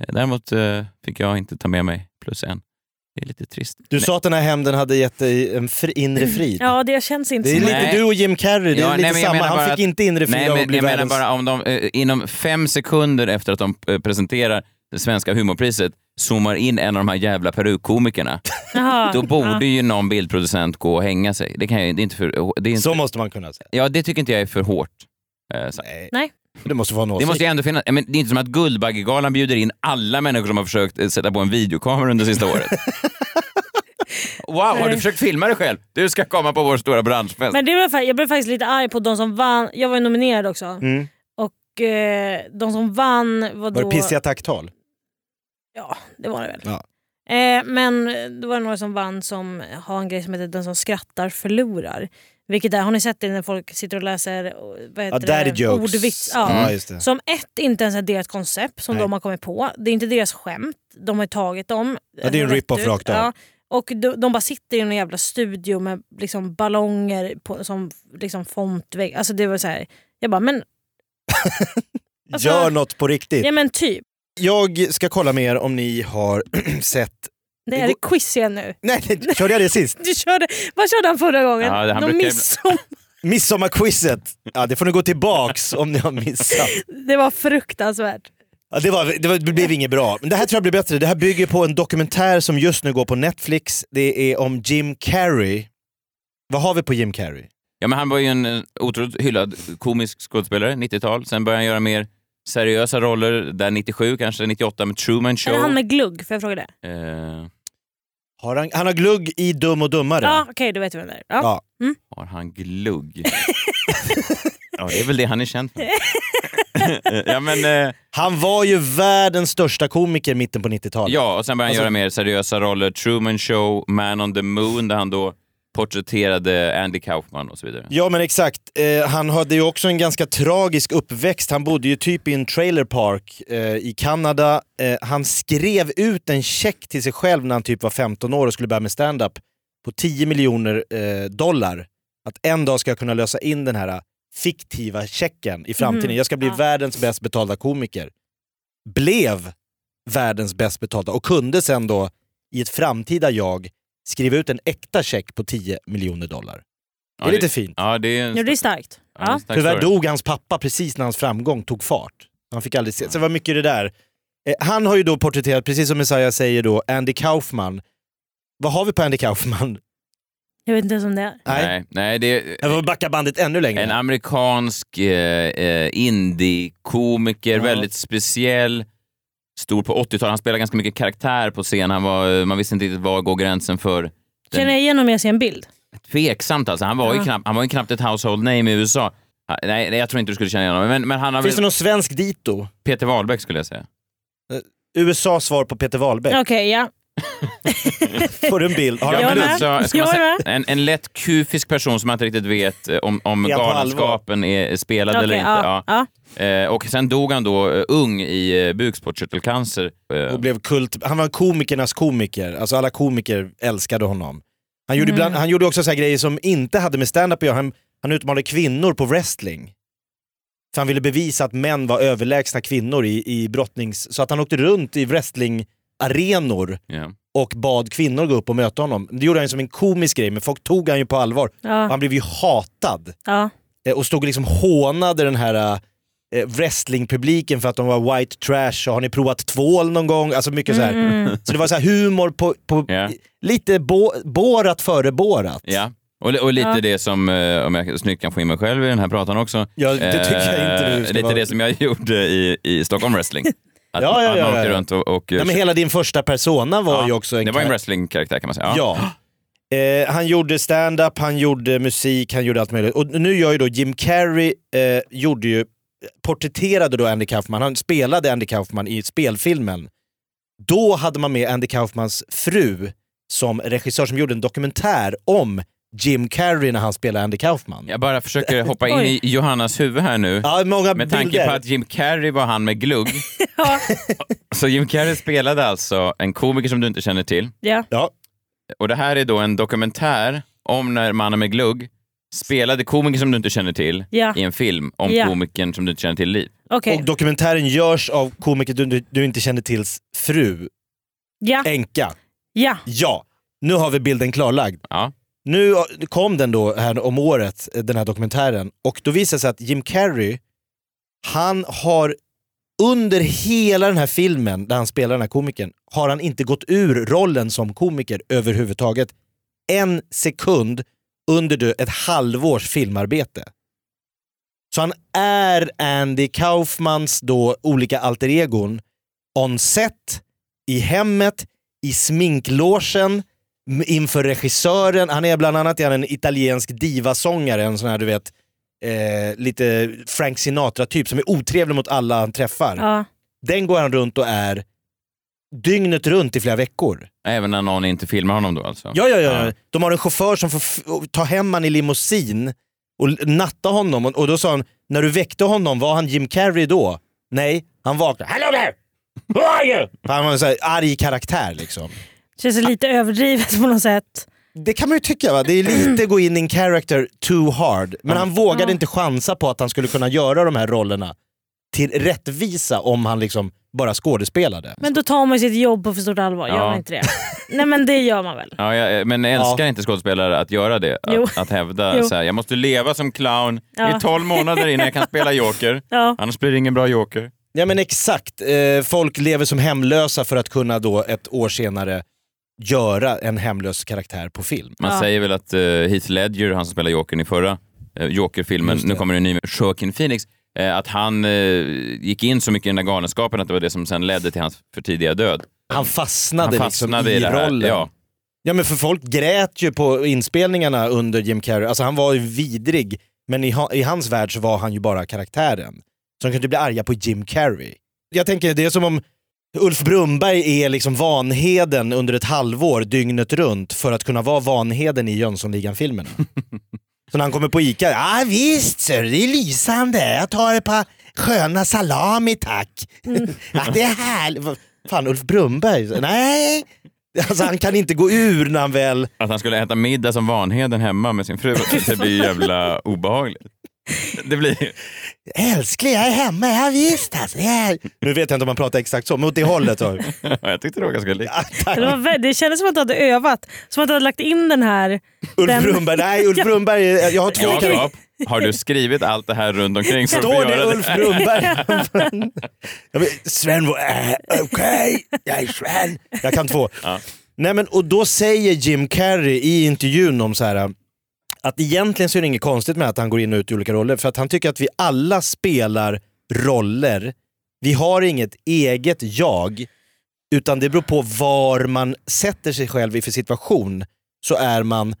Speaker 2: Eh, däremot eh, fick jag inte ta med mig plus en. Det är lite trist.
Speaker 3: Du sa att den här hämnden hade gett dig en fri, inre frid.
Speaker 4: Ja, det känns inte
Speaker 3: Det är
Speaker 4: så.
Speaker 2: Nej.
Speaker 3: lite du och Jim Carrey, det är
Speaker 2: Ja,
Speaker 3: lite
Speaker 2: nej, men jag
Speaker 3: samma.
Speaker 2: menar
Speaker 3: Han
Speaker 2: bara
Speaker 3: fick
Speaker 2: att-
Speaker 3: inte inre frid
Speaker 2: Nej,
Speaker 3: av att
Speaker 2: men,
Speaker 3: bli
Speaker 2: jag menar
Speaker 3: världens...
Speaker 2: bara om de eh, inom fem sekunder efter att de eh, presenterar det svenska humorpriset zoomar in en av de här jävla perukkomikerna.
Speaker 4: Jaha.
Speaker 2: Då
Speaker 4: Ja.
Speaker 2: borde ju någon bildproducent gå och hänga sig. Det, kan jag, det är inte för... oh, Det är inte
Speaker 3: Så måste man kunna säga.
Speaker 2: Ja, det tycker inte jag är för hårt. Eh, sagt.
Speaker 3: Nej.
Speaker 4: Nej.
Speaker 3: Det måste vara en
Speaker 2: Det
Speaker 3: åsikt.
Speaker 2: måste ju ändå finnas. Men det är inte som att Guldbaggegalan bjuder in alla människor som har försökt eh, sätta på en videokamera under sista året. Wow, har du
Speaker 4: Nej.
Speaker 2: försökt filma dig själv? Du ska komma på vår stora branschfest.
Speaker 4: Men det var, fa- jag blev faktiskt lite arg på de som vann. Jag var ju nominerad också.
Speaker 3: Mm.
Speaker 4: Och eh, de som vann var då...
Speaker 3: Var det pissiga tacktal?
Speaker 4: Ja, det var det väl.
Speaker 3: Ja.
Speaker 4: Eh, men då var det några som vann som har en grej som heter Den som skrattar förlorar. Vilket är, har ni sett det när folk sitter och läser och- vad heter
Speaker 3: Ja, daddy
Speaker 4: det?
Speaker 3: jokes.
Speaker 4: ordvits? Ja.
Speaker 3: Ja, just det.
Speaker 4: Som ett, inte ens är deras koncept som
Speaker 3: Nej.
Speaker 4: de har kommit på. Det är inte deras skämt, de har ju tagit dem.
Speaker 3: Ja, det är en
Speaker 4: Rätt
Speaker 3: rip-off
Speaker 4: ut.
Speaker 3: rakt av.
Speaker 4: Ja. Och de, de bara sitter i en jävla studio med liksom ballonger på, som liksom fontvägg. Alltså det var så här. Jag bara, men, Alltså-
Speaker 3: Gör något på riktigt.
Speaker 4: ja, men typ.
Speaker 3: Jag ska kolla med er om ni har sett... Det
Speaker 4: Det är
Speaker 3: går-
Speaker 4: det quiz igen nu.
Speaker 3: Nej, nej, körde jag det sist?
Speaker 4: Du körde, vad körde han förra gången?
Speaker 2: Ja, det- han
Speaker 4: Någon
Speaker 2: brukar-
Speaker 4: midsommar.
Speaker 3: Midsommarquizet! Ja, det får ni gå tillbaks om ni har missat.
Speaker 4: Det var fruktansvärt.
Speaker 3: Ja, det, var, det, var, det blev inget bra. Men det här tror jag blir bättre. Det här bygger på en dokumentär som just nu går på Netflix. Det är om Jim Carrey. Vad har vi på Jim Carrey?
Speaker 2: Ja, men han var ju en eh, otroligt hyllad komisk skådespelare, 90-tal. Sen började han göra mer seriösa roller, där 97 kanske, 98 med Truman
Speaker 4: Är det
Speaker 2: Show.
Speaker 4: han med glugg? Får jag fråga det?
Speaker 2: Eh,
Speaker 3: Har han, han har glugg i Dum och Dummare.
Speaker 4: Ja, okej då vet vi vem det är. Ja.
Speaker 3: Ja.
Speaker 2: har han glugg? ja, det är väl det han är känd för. ja, men... Eh,
Speaker 3: Han var ju världens största komiker i mitten på 90-talet.
Speaker 2: Ja, och sen började han
Speaker 3: Alltså-
Speaker 2: göra mer seriösa roller. Truman Show, Man on the Moon, där han då porträtterade Andy Kaufman och så vidare.
Speaker 3: Ja, men exakt. Eh, han hade ju också en ganska tragisk uppväxt. Han bodde ju typ i en trailer park eh, i Kanada. Eh, han skrev ut en check till sig själv när han typ var 15 år och skulle börja med stand-up på 10 miljoner eh, dollar. Att en dag ska jag kunna lösa in den här eh, fiktiva checken i framtiden.
Speaker 4: Mhm.
Speaker 3: Jag ska bli
Speaker 4: Ja.
Speaker 3: världens bäst betalda komiker. Blev världens bäst betalda och kunde sen då i ett framtida jag skriva ut en äkta check på 10 miljoner dollar. Det är lite fint.
Speaker 2: Ja, det är...
Speaker 4: Ja, det är starkt.
Speaker 2: ja, det är
Speaker 4: Ja.
Speaker 2: en stark
Speaker 3: Tyvärr
Speaker 2: story.
Speaker 3: dog hans pappa precis när hans framgång tog fart. Han fick aldrig se. Så det var mycket det där. Eh, han har ju då porträtterat, precis som Messiah säger då, Andy Kaufman. Vad har vi på Andy Kaufman?
Speaker 4: Jag vet inte ens om det är.
Speaker 2: Nej, nej, det är
Speaker 3: Jag får backa bandet ännu längre.
Speaker 2: en amerikansk eh, eh, indie-komiker,
Speaker 3: Ja.
Speaker 2: väldigt speciell. Stor på 80-talet. Han spelade ganska mycket karaktär på scen. Han var, eh, man visste inte riktigt var går gränsen för...
Speaker 4: Känner jag igen om jag ser en bild?
Speaker 2: Tveksamt alltså. Han var, ju
Speaker 4: Ja.
Speaker 2: knappt, han var ju knappt ett household name i USA. Ah, Nej, nej, jag tror inte du skulle känna igen honom. Men, men han har väl...
Speaker 3: Finns det någon svensk dito?
Speaker 2: Peter Wahlbeck skulle jag säga.
Speaker 3: USAs svar på Peter Wahlbeck.
Speaker 4: Okej, ja.
Speaker 3: Får du en bild? Har
Speaker 2: Ja,
Speaker 3: du
Speaker 4: Jag
Speaker 3: en
Speaker 2: men
Speaker 4: med.
Speaker 3: bild?
Speaker 2: alltså, ska man
Speaker 4: Jag
Speaker 2: säga,
Speaker 4: är
Speaker 2: en, en lätt kufisk person som man inte riktigt vet eh, om, om
Speaker 3: Är han på
Speaker 2: galenskapen är spelad
Speaker 4: Okej,
Speaker 2: eller inte.
Speaker 4: ja,
Speaker 2: Ja.
Speaker 4: ja.
Speaker 2: Eh, och sen dog han då eh, ung i eh, bukspottkörtelcancer. Eh,
Speaker 3: Och blev kult. Han var komikernas komiker. Alltså alla komiker älskade honom. Han gjorde, ibland, han gjorde också så här grejer som inte hade med stand-up att göra. Han, han utmanade kvinnor på wrestling. För han ville bevisa att män var överlägsna kvinnor i, i brottnings... Så att han åkte runt i wrestlingarenor
Speaker 2: ja.
Speaker 3: och bad kvinnor gå upp och möta honom. Det gjorde han ju som en komisk grej, men folk tog han ju på allvar. Och
Speaker 4: ja,
Speaker 3: han blev ju hatad.
Speaker 4: ja.
Speaker 3: Eh, och stod och liksom hånade den här eh, wrestlingpubliken för att de var white trash och har ni provat tvål någon gång? Alltså mycket så här. Så det var så här humor på, på
Speaker 2: Ja.
Speaker 3: lite bo, bårat före bårat.
Speaker 2: ja. Och, li- och lite
Speaker 4: Ja.
Speaker 2: det som, eh, om jag snyggt kan få in mig själv i den här pratan också. Eh,
Speaker 3: Ja, det tycker jag inte du ska
Speaker 2: Lite
Speaker 3: vara-
Speaker 2: det som jag gjorde i, i Stockholm wrestling. Att
Speaker 3: Ja, ja,
Speaker 2: man
Speaker 3: ja,
Speaker 2: åkte
Speaker 3: ja.
Speaker 2: runt och... och
Speaker 3: Ja, men hela din första persona var
Speaker 2: Ja,
Speaker 3: ju också en
Speaker 2: det var en
Speaker 3: kar-
Speaker 2: wrestlingkaraktär kan man säga.
Speaker 3: Ja. Eh, han gjorde stand-up, han gjorde musik, han gjorde allt möjligt. Och nu gör ju då Jim Carrey, eh, gjorde ju porträtterade då Andy Kaufman, han spelade Andy Kaufman i spelfilmen. Då hade man med Andy Kaufmans fru som regissör som gjorde en dokumentär om Jim Carrey när han spelade Andy Kaufman.
Speaker 2: Jag bara försöker hoppa in i
Speaker 4: Oj.
Speaker 2: Johannas huvud här nu.
Speaker 3: Ja, många
Speaker 2: Med tanke
Speaker 3: bilder.
Speaker 2: på att Jim Carrey var han med glugg.
Speaker 4: Ja.
Speaker 2: Så Jim Carrey spelade alltså en komiker som du inte känner till.
Speaker 4: Ja.
Speaker 3: Ja,
Speaker 2: Och det här är då en dokumentär om när mannen med glugg spelade komiker som du inte känner till
Speaker 4: Ja.
Speaker 2: i en film om
Speaker 4: Ja.
Speaker 2: komikern som du inte känner till liv.
Speaker 4: Okej.
Speaker 3: Och dokumentären görs av komiker du, du, du inte känner tills fru,
Speaker 4: Ja.
Speaker 3: änka.
Speaker 4: Ja.
Speaker 3: Ja, nu har vi bilden klarlagd.
Speaker 2: Ja.
Speaker 3: Nu kom den då här om året, den här dokumentären. Och då visar det sig att Jim Carrey, han har under hela den här filmen, där han spelar den här komikern, har han inte gått ur rollen som komiker överhuvudtaget. En sekund under då ett halvårs filmarbete. Så han är Andy Kaufmans då olika alter egon on set, i hemmet, i sminklogen, m- inför regissören. Han är bland annat är han en italiensk divasångare, en sån här du vet, eh, lite Frank Sinatra-typ som är otrevlig mot alla han träffar.
Speaker 4: ja.
Speaker 3: Den går han runt och är dygnet runt i flera veckor.
Speaker 2: Även när någon inte filmar honom då alltså?
Speaker 3: Ja, ja, ja. De har en chaufför som får f- ta hem han i limousin och l- natta honom. Och, och då sa han, när du väckte honom, var han Jim Carrey då? Nej, han vaknade. Hello there! Who are you? Han var en sån här arg karaktär liksom.
Speaker 4: Känns lite överdrivet på något sätt.
Speaker 3: Det kan man ju tycka va, det är lite gå in in character too hard. Men han vågade inte chansa på att han skulle kunna göra de här rollerna till rättvisa om han liksom bara skådespelade.
Speaker 4: Men då tar man ju sitt jobb på för stort allvar. Gör
Speaker 2: Ja.
Speaker 4: man inte det? Nej men det gör man väl.
Speaker 2: Ja, jag, men jag älskar
Speaker 3: Ja.
Speaker 2: inte skådespelare att göra det.
Speaker 4: Jo.
Speaker 2: Att, att hävda
Speaker 4: Jo.
Speaker 2: så här, jag måste leva som clown
Speaker 4: Ja.
Speaker 2: i 12 månader innan jag kan spela joker.
Speaker 4: Ja.
Speaker 2: Annars blir det ingen bra joker.
Speaker 3: Ja men exakt, eh, folk lever som hemlösa för att kunna då ett år senare göra en hemlös karaktär på film.
Speaker 2: Man
Speaker 4: Ja.
Speaker 2: säger väl att eh, Heath Ledger, han som spelar jokern i förra eh, Joker-filmen,
Speaker 3: Just det.
Speaker 2: nu kommer det en ny med Joaquin Phoenix, eh, att han eh, gick in så mycket i den där galenskapen att det var det som sen ledde till hans för tidiga död.
Speaker 3: Han fastnade,
Speaker 2: Han fastnade
Speaker 3: liksom i,
Speaker 2: i det här.
Speaker 3: rollen.
Speaker 2: Ja.
Speaker 3: Ja men för folk grät ju på inspelningarna under Jim Carrey. Alltså han var ju vidrig, men i, ha- i hans värld så var han ju bara karaktären. Så de kunde bli arga på Jim Carrey. Jag tänker det är som om Ulf Brumberg är liksom Vanheden under ett halvår dygnet runt för att kunna vara Vanheden i Jönssonligan-filmerna. så när han kommer på ICA, ja ah, visst sir, det är lysande. Jag tar ett par sköna salami tack. ja, det är härligt. Vad Fan Ulf Brumberg, nej. Alltså han kan inte gå ur när han väl...
Speaker 2: Att han skulle äta middag som Vanheden hemma med sin fru, det blir ju jävla obehagligt. Det blir...
Speaker 3: Älskling, jag är hemma, ja visst alltså. jag är-" Nu vet jag inte om han pratar exakt så, men åt det hållet. Så.
Speaker 2: Jag tyckte det var ganska likt.
Speaker 3: Ja, tack.
Speaker 4: Det, var, vä- det kändes som att du hade övat. Som att du hade lagt in den här...
Speaker 3: Ulf
Speaker 4: Den-
Speaker 3: Brumberg, nej Ulf Brumberg, jag har två karaktärer.
Speaker 2: Jakob, har du skrivit allt det här runt omkring? så att vi
Speaker 3: Står det
Speaker 2: gör
Speaker 3: Ulf Brumberg? jag vet, Sven, var- äh, okej, jag är Sven. Jag kan två. Nej, men, och då säger Jim Carrey i intervjun om så här att egentligen så är det inget konstigt med att han går in och ut i olika roller för att han tycker att vi alla spelar roller. Vi har inget eget jag utan det beror på var man sätter sig själv i för situation. Så är man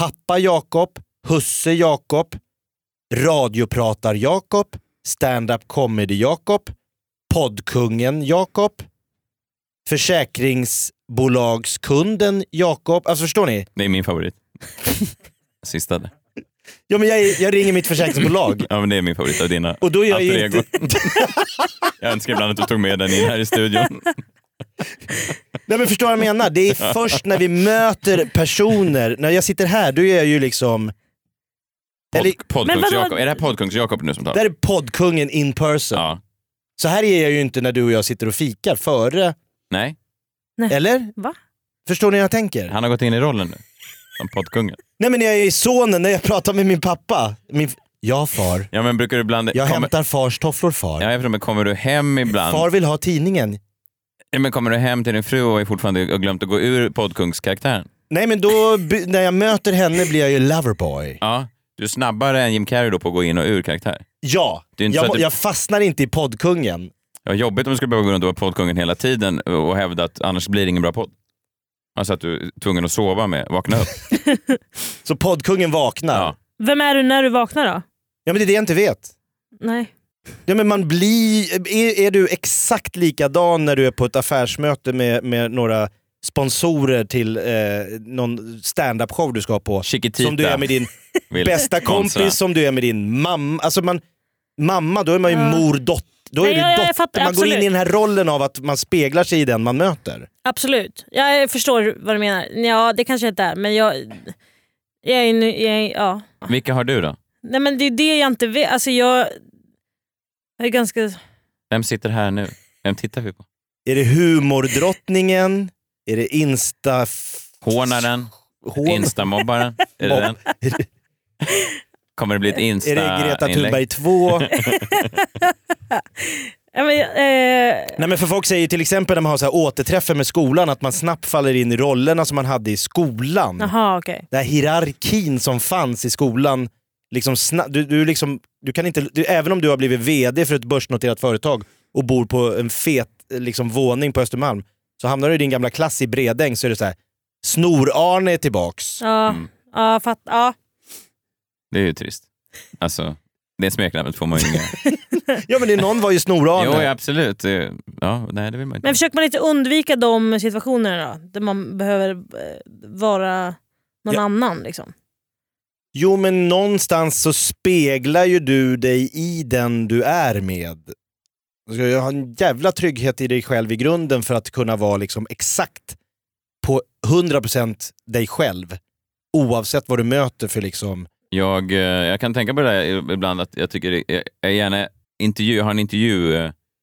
Speaker 3: pappa Jakob, husse Jakob, radiopratar Jakob, stand-up comedy Jakob, poddkungen Jakob, försäkringsbolagskunden Jakob. Alltså förstår ni?
Speaker 2: Det är min favorit. Sista där.
Speaker 3: Ja, men jag, är- jag ringer mitt försäkringsbolag.
Speaker 2: Ja, men det är min favorit av dina
Speaker 3: Och då är jag
Speaker 2: alter
Speaker 3: ju inte-
Speaker 2: egon. Jag önskar ibland att du tog med den in här i studion.
Speaker 3: Nej men förstår vad jag menar? Det är först när vi möter personer, när jag sitter här, då är jag ju liksom... Eller,
Speaker 2: Pod, poddkungs
Speaker 4: vadå?
Speaker 2: Jakob. Är det här poddkungs Jakob nu som talar?
Speaker 3: där är poddkungen in person.
Speaker 2: Ja.
Speaker 3: Så här är jag ju inte när du och jag sitter och fikar före,
Speaker 2: Nej,
Speaker 3: eller?
Speaker 4: Va?
Speaker 3: Förstår ni hur jag tänker?
Speaker 2: han har gått in i rollen nu. Som poddkungen.
Speaker 3: Nej men när jag är i sonen, när jag pratar med min pappa. Min... Ja far,
Speaker 2: Ja, men brukar du ibland...
Speaker 3: jag
Speaker 2: kommer...
Speaker 3: hämtar fars tofflor far.
Speaker 2: Ja, jag förstår, men kommer du hem ibland?
Speaker 3: Far vill ha tidningen.
Speaker 2: Ja, men kommer du hem till din fru och är fortfarande och glömt att gå ur poddkungskaraktären?
Speaker 3: Nej men då, by- när jag möter henne blir jag ju loverboy.
Speaker 2: Ja. Du är snabbare än Jim Carrey då på att gå in och ur karaktär.
Speaker 3: Ja,
Speaker 2: Det är inte så
Speaker 3: jag,
Speaker 2: att
Speaker 3: må-
Speaker 2: du-
Speaker 3: jag fastnar inte i poddkungen.
Speaker 2: Ja, jobbigt om du skulle behöva gå runt och vara poddkungen hela tiden och hävda att annars blir det ingen bra podd. Alltså att du är tvungen att sova med, vakna upp.
Speaker 3: Så poddkungen vaknar.
Speaker 2: Ja.
Speaker 3: Ja.
Speaker 4: Vem är du när du vaknar då?
Speaker 3: men det är det jag inte vet.
Speaker 4: Nej.
Speaker 3: Ja, men man blir, är, är du exakt likadan när du är på ett affärsmöte med, med några sponsorer till eh, någon standup-show du ska ha på?
Speaker 2: Chiquitita.
Speaker 3: Som du är med din
Speaker 2: Vill
Speaker 3: bästa
Speaker 2: kontra.
Speaker 3: kompis, som du är med din mamma. Alltså man, mamma, då är man ju
Speaker 4: Ja.
Speaker 3: mor, dotter. Då är
Speaker 4: Nej,
Speaker 3: du
Speaker 4: jag- jag
Speaker 3: dotter.
Speaker 4: fattar,
Speaker 3: man går in i
Speaker 4: absolut.
Speaker 3: den här rollen av att man speglar sig i den man möter.
Speaker 4: Absolut. Jag förstår vad du menar. Ja, det kanske inte är, men jag... Jag är, nu- jag är, ja.
Speaker 2: Vilka har du då?
Speaker 4: Nej men det är det jag inte vet. Alltså jag... Jag är ganska...
Speaker 2: Vem sitter här nu? Vem tittar vi på?
Speaker 3: Är det humordrottningen? Är det insta... f-
Speaker 2: Hånaren?
Speaker 3: Hån-
Speaker 2: Instamobbaren? Är det den? Kommer det bli ett
Speaker 3: Är det Greta Thunberg
Speaker 2: Insta-inlägg?
Speaker 3: 2?
Speaker 4: Ja, men, jag- eh,
Speaker 3: Nej, men för folk säger ju till exempel när man har så här återträffar med skolan att man snabbt faller in i rollerna som man hade i skolan.
Speaker 4: Jaha, okej.
Speaker 3: Den här hierarkin som fanns i skolan. Liksom sna- du, du, liksom, du kan inte, du, även om du har blivit VD för ett börsnoterat företag och bor på en fet eh, liksom, våning på Östermalm så hamnar du i din gamla klass i Bredäng så är det så här Snor-Arne är tillbaks.
Speaker 4: Ja,
Speaker 2: Mm.
Speaker 4: ja, fatt, ja.
Speaker 2: Det är ju trist. Alltså, det smeknamnet får man ju inga...
Speaker 3: Ja men det, någon var ju
Speaker 2: Jo,
Speaker 3: Snor-Arne.
Speaker 2: ja, absolut. Det- Ja, nej, det vill man inte.
Speaker 4: Men försöker man inte undvika de situationerna då? Där man behöver eh, vara någon
Speaker 3: Ja.
Speaker 4: annan liksom?
Speaker 3: Jo men någonstans så speglar ju du dig i den du är med. Du ska ju ha en jävla trygghet i dig själv i grunden för att kunna vara liksom exakt på 100% dig själv. Oavsett vad du möter för liksom...
Speaker 2: Jag, eh, jag kan tänka på det där ibland att jag tycker det- jag, jag gärna intervju, jag har en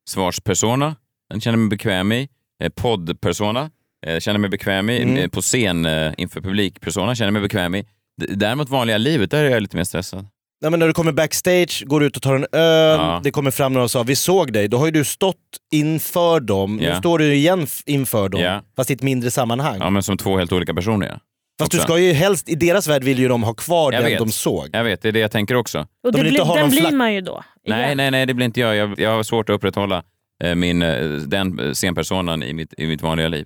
Speaker 2: intervjusvarspersona. Den känner mig bekväm i. Eh, Poddpersona. eh, Känner mig bekväm i.
Speaker 3: Mm.
Speaker 2: Eh, På scen eh, inför publik. Persona känner mig bekväm i. D- Däremot vanliga livet, där är jag lite mer stressad.
Speaker 3: Nej, men när du kommer backstage, går ut och tar en öl,
Speaker 2: Ja.
Speaker 3: det kommer fram några och sa vi såg dig, då har ju du stått inför dem,
Speaker 2: Ja.
Speaker 3: nu står du igen f- inför dem,
Speaker 2: Ja.
Speaker 3: fast i ett mindre sammanhang.
Speaker 2: Ja, men som två helt olika personer. Ja.
Speaker 3: fast du
Speaker 2: också.
Speaker 3: ska ju helst, i deras värld vill ju de ha kvar
Speaker 2: Jag
Speaker 3: den
Speaker 2: vet.
Speaker 3: de såg.
Speaker 2: Jag vet, det är det jag tänker också.
Speaker 4: Och
Speaker 3: De
Speaker 4: det
Speaker 3: vill inte
Speaker 4: blir,
Speaker 3: ha
Speaker 4: den
Speaker 3: någon
Speaker 4: blir
Speaker 3: flack-
Speaker 4: man ju då.
Speaker 2: Nej, nej, nej, det blir inte jag. Jag, jag har svårt att upprätthålla eh, min, eh, den eh, scenpersonan i mitt, i mitt vanliga liv.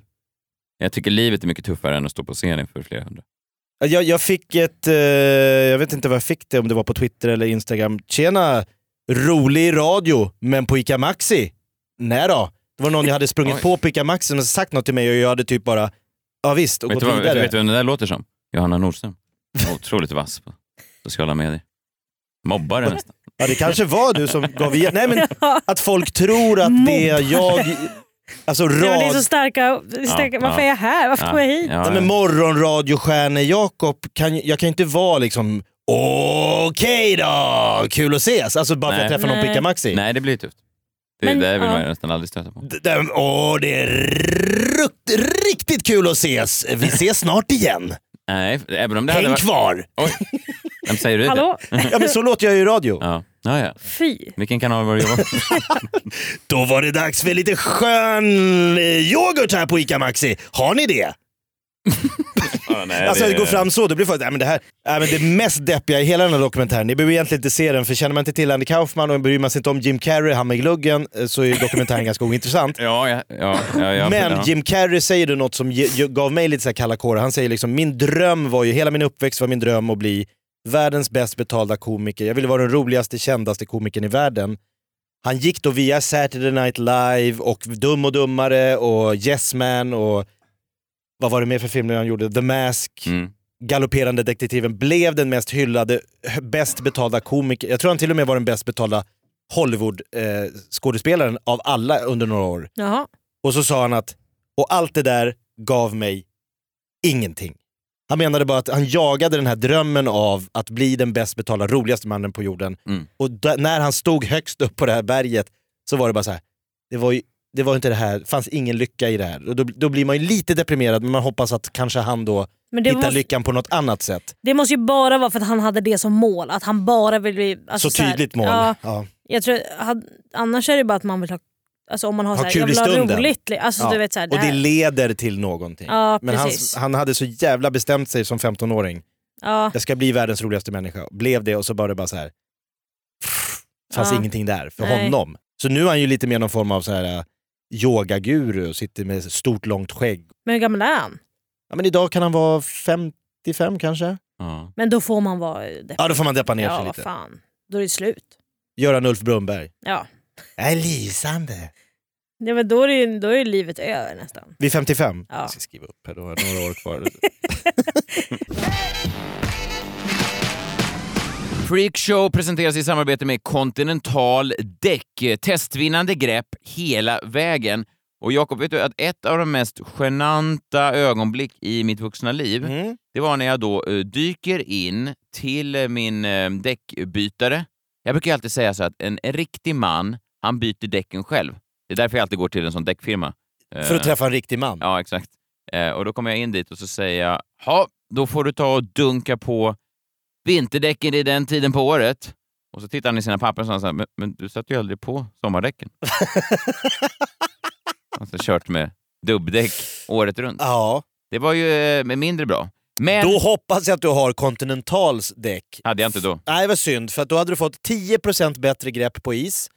Speaker 2: Jag tycker livet är mycket tuffare än att stå på scen inför flera hundra.
Speaker 3: Jag, jag fick ett, eh, jag vet inte vad jag fick det, om det var på Twitter eller Instagram. Tjena, rolig radio, men på Ica Maxi? Nej då. Det var någon jag hade sprungit
Speaker 2: Oj.
Speaker 3: på på Ica Maxi som hade sagt något till mig och jag hade typ bara, ja visst, och
Speaker 2: Vet
Speaker 3: gått
Speaker 2: du, vad, vet,
Speaker 3: vidare.
Speaker 2: du- vet du vem det där låter som? Johanna Nordström. Otroligt vass på sociala medier. Mobbare nästan.
Speaker 3: Ja, det kanske var du som gav igen. Nej men
Speaker 4: Ja.
Speaker 3: att folk tror att det är jag, alltså
Speaker 4: Det var
Speaker 3: rad...
Speaker 4: det är så starka... starka
Speaker 2: Ja,
Speaker 4: varför
Speaker 2: ja.
Speaker 4: är jag här? Varför kom jag hit?
Speaker 2: ja,
Speaker 3: Nej, men morgonradiostjärne Jakob, kan, ju- jag kan ju inte vara liksom Okej då, kul att ses! Alltså bara för att
Speaker 2: Nej.
Speaker 3: jag träffar någon på
Speaker 4: Nej.
Speaker 3: Ica Maxi.
Speaker 2: Nej, det blir ju tufft. Det,
Speaker 4: Men,
Speaker 2: det vill man
Speaker 4: ja.
Speaker 2: ju nästan aldrig stöta på.
Speaker 3: D- den- Åh, det är rukt, riktigt kul att ses. Vi ses snart igen.
Speaker 2: Nej, även om det hade
Speaker 3: Häng
Speaker 2: varit...
Speaker 3: kvar!
Speaker 2: Oj, vem säger du det?
Speaker 4: Hallå?
Speaker 3: Ja, men så låter jag ju i radio.
Speaker 2: Ja. Ja, ja.
Speaker 4: Fy.
Speaker 2: Vilken kanal var det jag var på?
Speaker 3: Då var det dags för lite skön eh, yoghurt här på Ica Maxi. Har ni det?
Speaker 2: Ja, nej,
Speaker 3: alltså
Speaker 2: det-
Speaker 3: att gå fram så, det blir folk, nej, men det här nej, men det mest deppiga i hela den här dokumentären, ni behöver egentligen inte se den för känner man inte till Andy Kaufman och bryr man sig inte om Jim Carrey, han med gluggen, eh, så är dokumentären ganska ointressant.
Speaker 2: Ja, ja, ja, ja, ja,
Speaker 3: Men
Speaker 2: ja.
Speaker 3: Jim Carrey säger det något som ge, ge- gav mig lite så här kalla kårar. Han säger liksom, min dröm var ju, hela min uppväxt var min dröm att bli världens bäst betalda komiker. Jag ville vara den roligaste, kändaste komikern i världen. Han gick då via Saturday Night Live och Dum och Dummare och Yes Man och vad var det mer för filmer han gjorde? The Mask,
Speaker 2: Mm.
Speaker 3: Galopperande detektiven, blev den mest hyllade, h- bäst betalda komikern. Jag tror han till och med var den bäst betalda Hollywood-skådespelaren eh, skådespelaren av alla under några år.
Speaker 4: Jaha.
Speaker 3: Och så sa han att, och allt det där gav mig ingenting. Han menade bara att han jagade den här drömmen av att bli den bäst betalda, roligaste mannen på jorden.
Speaker 2: Mm.
Speaker 3: Och d- när han stod högst upp på det här berget så var det bara så här, det var ju det var inte det här, fanns ingen lycka i det här. Och då, då blir man ju lite deprimerad men man hoppas att kanske han då
Speaker 4: Men det
Speaker 3: hittar
Speaker 4: måste,
Speaker 3: lyckan på något annat sätt.
Speaker 4: det måste ju bara vara för att han hade det som mål. Att han bara vill bli... alltså,
Speaker 3: så
Speaker 4: här-
Speaker 3: tydligt mål.
Speaker 4: Ja,
Speaker 3: Ja.
Speaker 4: jag tror, had, annars är det bara att man vill ha... Alltså om man har,
Speaker 3: Ha
Speaker 4: så här,
Speaker 3: kul
Speaker 4: jag
Speaker 3: i
Speaker 4: vill ha
Speaker 3: stunden.
Speaker 4: roligt. li- Alltså,
Speaker 3: Ja.
Speaker 4: du vet, så här,
Speaker 3: Och det
Speaker 4: här-
Speaker 3: leder till någonting.
Speaker 4: Ja,
Speaker 3: men han,
Speaker 4: precis.
Speaker 3: han hade så jävla bestämt sig som 15-åring.
Speaker 4: ja.
Speaker 3: jag ska bli världens roligaste människa. Blev det och så bara det bara så här. Fanns
Speaker 4: Ja.
Speaker 3: ingenting där för
Speaker 4: Nej.
Speaker 3: honom. Så nu är han ju lite mer någon form av så här eh, yogaguru och sitter med stort långt skägg.
Speaker 4: Men hur gammal är han?
Speaker 3: Ja, men idag kan han vara 55 kanske?
Speaker 2: Ja.
Speaker 4: Men då får man vara deppig.
Speaker 3: Ja då får man deppa ner
Speaker 4: ja,
Speaker 3: sig
Speaker 4: vad
Speaker 3: lite.
Speaker 4: fan. Då är det slut.
Speaker 3: Göran Ulf Brunnberg.
Speaker 4: Ja.
Speaker 3: Det är lysande.
Speaker 4: Ja, men då, är det ju, då är ju livet över nästan.
Speaker 3: Vid 55?
Speaker 4: Ja.
Speaker 3: Jag ska skriva upp här, då har jag några år kvar.
Speaker 2: Freakshow presenteras i samarbete med Continental Däck. Testvinnande grepp hela vägen. Och Jakob, vet du att ett av de mest genanta ögonblick i mitt vuxna liv,
Speaker 3: Mm.
Speaker 2: det var när jag då eh, dyker in till eh, min eh, däckbytare. Jag brukar ju alltid säga så att en, en riktig man, han byter däcken själv. Det är därför jag alltid går till en sån däckfirma. Eh,
Speaker 3: För att träffa en riktig man.
Speaker 2: Ja, exakt. Eh, och då kommer jag in dit och så säger jag, ja, då får du ta och dunka på vinterdäcken i den tiden på året. Och så tittar han i sina papper och så sa han så här, men, men du satte ju aldrig på sommardäcken. alltså kört med dubbdäck året runt.
Speaker 3: Ja.
Speaker 2: Det var ju eh, mindre bra. Men
Speaker 3: Då hoppas jag att du har Continentals däck.
Speaker 2: hade jag inte då.
Speaker 3: Nej, vad synd. För att då hade du fått 10% bättre grepp på is,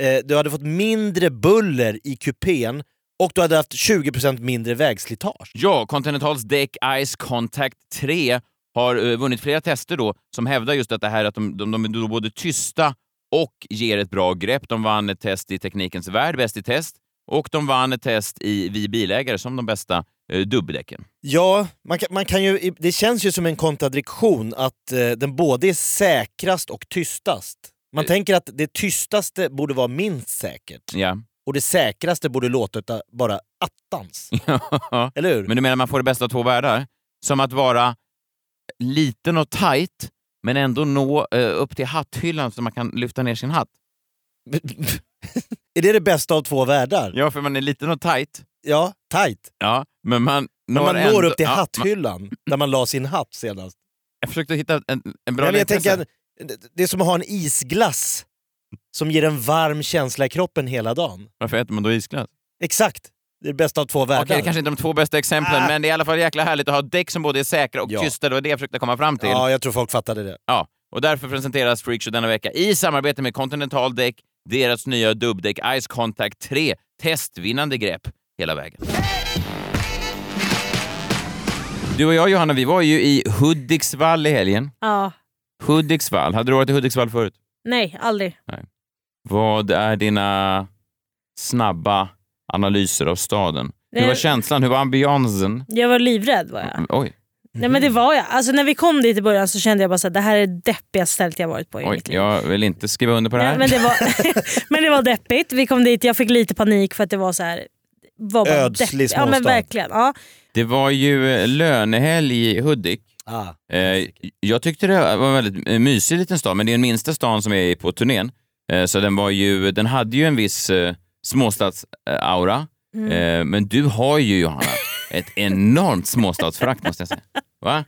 Speaker 3: eh, du hade fått mindre buller i kupén och du hade haft 20% mindre vägslitage.
Speaker 2: Ja, Continentals däck Ice Contact 3 har eh, vunnit flera tester då som hävdar just att det här att de, de, de är då både tysta och ger ett bra grepp. De vann ett test i Teknikens Värld, Bäst i test, och de vann ett test i Vi Bilägare som de bästa eh, dubbdäcken.
Speaker 3: Ja, man kan, man kan ju, det känns ju som en kontradiktion att eh, den både är säkrast och tystast. Man
Speaker 2: Eh.
Speaker 3: tänker att det tystaste borde vara minst säkert
Speaker 2: Ja.
Speaker 3: och det säkraste borde låta bara attans. Eller hur?
Speaker 2: men du menar man får det bästa av två världar? Som att vara liten och tight, men ändå nå eh, upp till hatthyllan så man kan lyfta ner sin hatt.
Speaker 3: är det det bästa av två världar?
Speaker 2: Ja, för man är liten och tight,
Speaker 3: Ja, tajt.
Speaker 2: ja, men man
Speaker 3: Men
Speaker 2: når,
Speaker 3: man
Speaker 2: ändå-
Speaker 3: når upp till
Speaker 2: ja, man-
Speaker 3: hatthyllan där man la sin hatt senast.
Speaker 2: Jag försökte hitta en, en bra
Speaker 3: Nej, men jag
Speaker 2: liknelse.
Speaker 3: tänker, att det- det är som att ha en isglass som ger en varm känsla i kroppen hela dagen.
Speaker 2: Varför äter man då isglass?
Speaker 3: Exakt! Det är det bästa av två
Speaker 2: Okej,
Speaker 3: världar.
Speaker 2: det kanske inte är de två bästa exemplen,
Speaker 3: Ah.
Speaker 2: men det är i alla fall jäkla härligt att ha däck som både är säkra och
Speaker 3: Ja.
Speaker 2: tysta. Det var det jag försökte komma fram till. Ja.
Speaker 3: Ja, jag tror folk fattade det.
Speaker 2: Och därför presenteras Freakshow denna vecka i samarbete med Continental Däck, deras nya dubbdäck Ice Contact 3. Testvinnande grepp hela vägen. Du och jag, Johanna, vi var ju i Hudiksvall i helgen.
Speaker 4: Ja.
Speaker 2: Hudiksvall. Hade du varit i Hudiksvall förut?
Speaker 4: Nej, aldrig.
Speaker 2: Vad är dina snabba analyser av staden? Hur
Speaker 4: Nej.
Speaker 2: var känslan? Hur var ambiansen?
Speaker 4: Jag var livrädd var jag.
Speaker 2: Mm, Oj,
Speaker 4: Nej men det var jag. Alltså när vi kom dit i början så kände jag bara att det här är det deppigaste stället jag varit på i
Speaker 2: oj,
Speaker 4: mitt liv.
Speaker 2: jag vill inte skriva under på det här.
Speaker 4: Nej, men, det var, men det var deppigt. Vi kom dit, jag fick lite panik för att det var så här var bara
Speaker 3: Ödslig
Speaker 4: deppigt. Ja
Speaker 3: småstad.
Speaker 4: men verkligen. Ja.
Speaker 2: Det var ju eh, lönehelg i Hudik.
Speaker 3: Ah.
Speaker 2: Eh, jag tyckte det var en väldigt eh, mysig liten stad, men det är den minsta stan som är på turnén. Eh, så den, var ju, den hade ju en viss eh, småstadsaura. Eh, men du har ju, Johanna, ett enormt småstadsförakt måste jag säga. Va?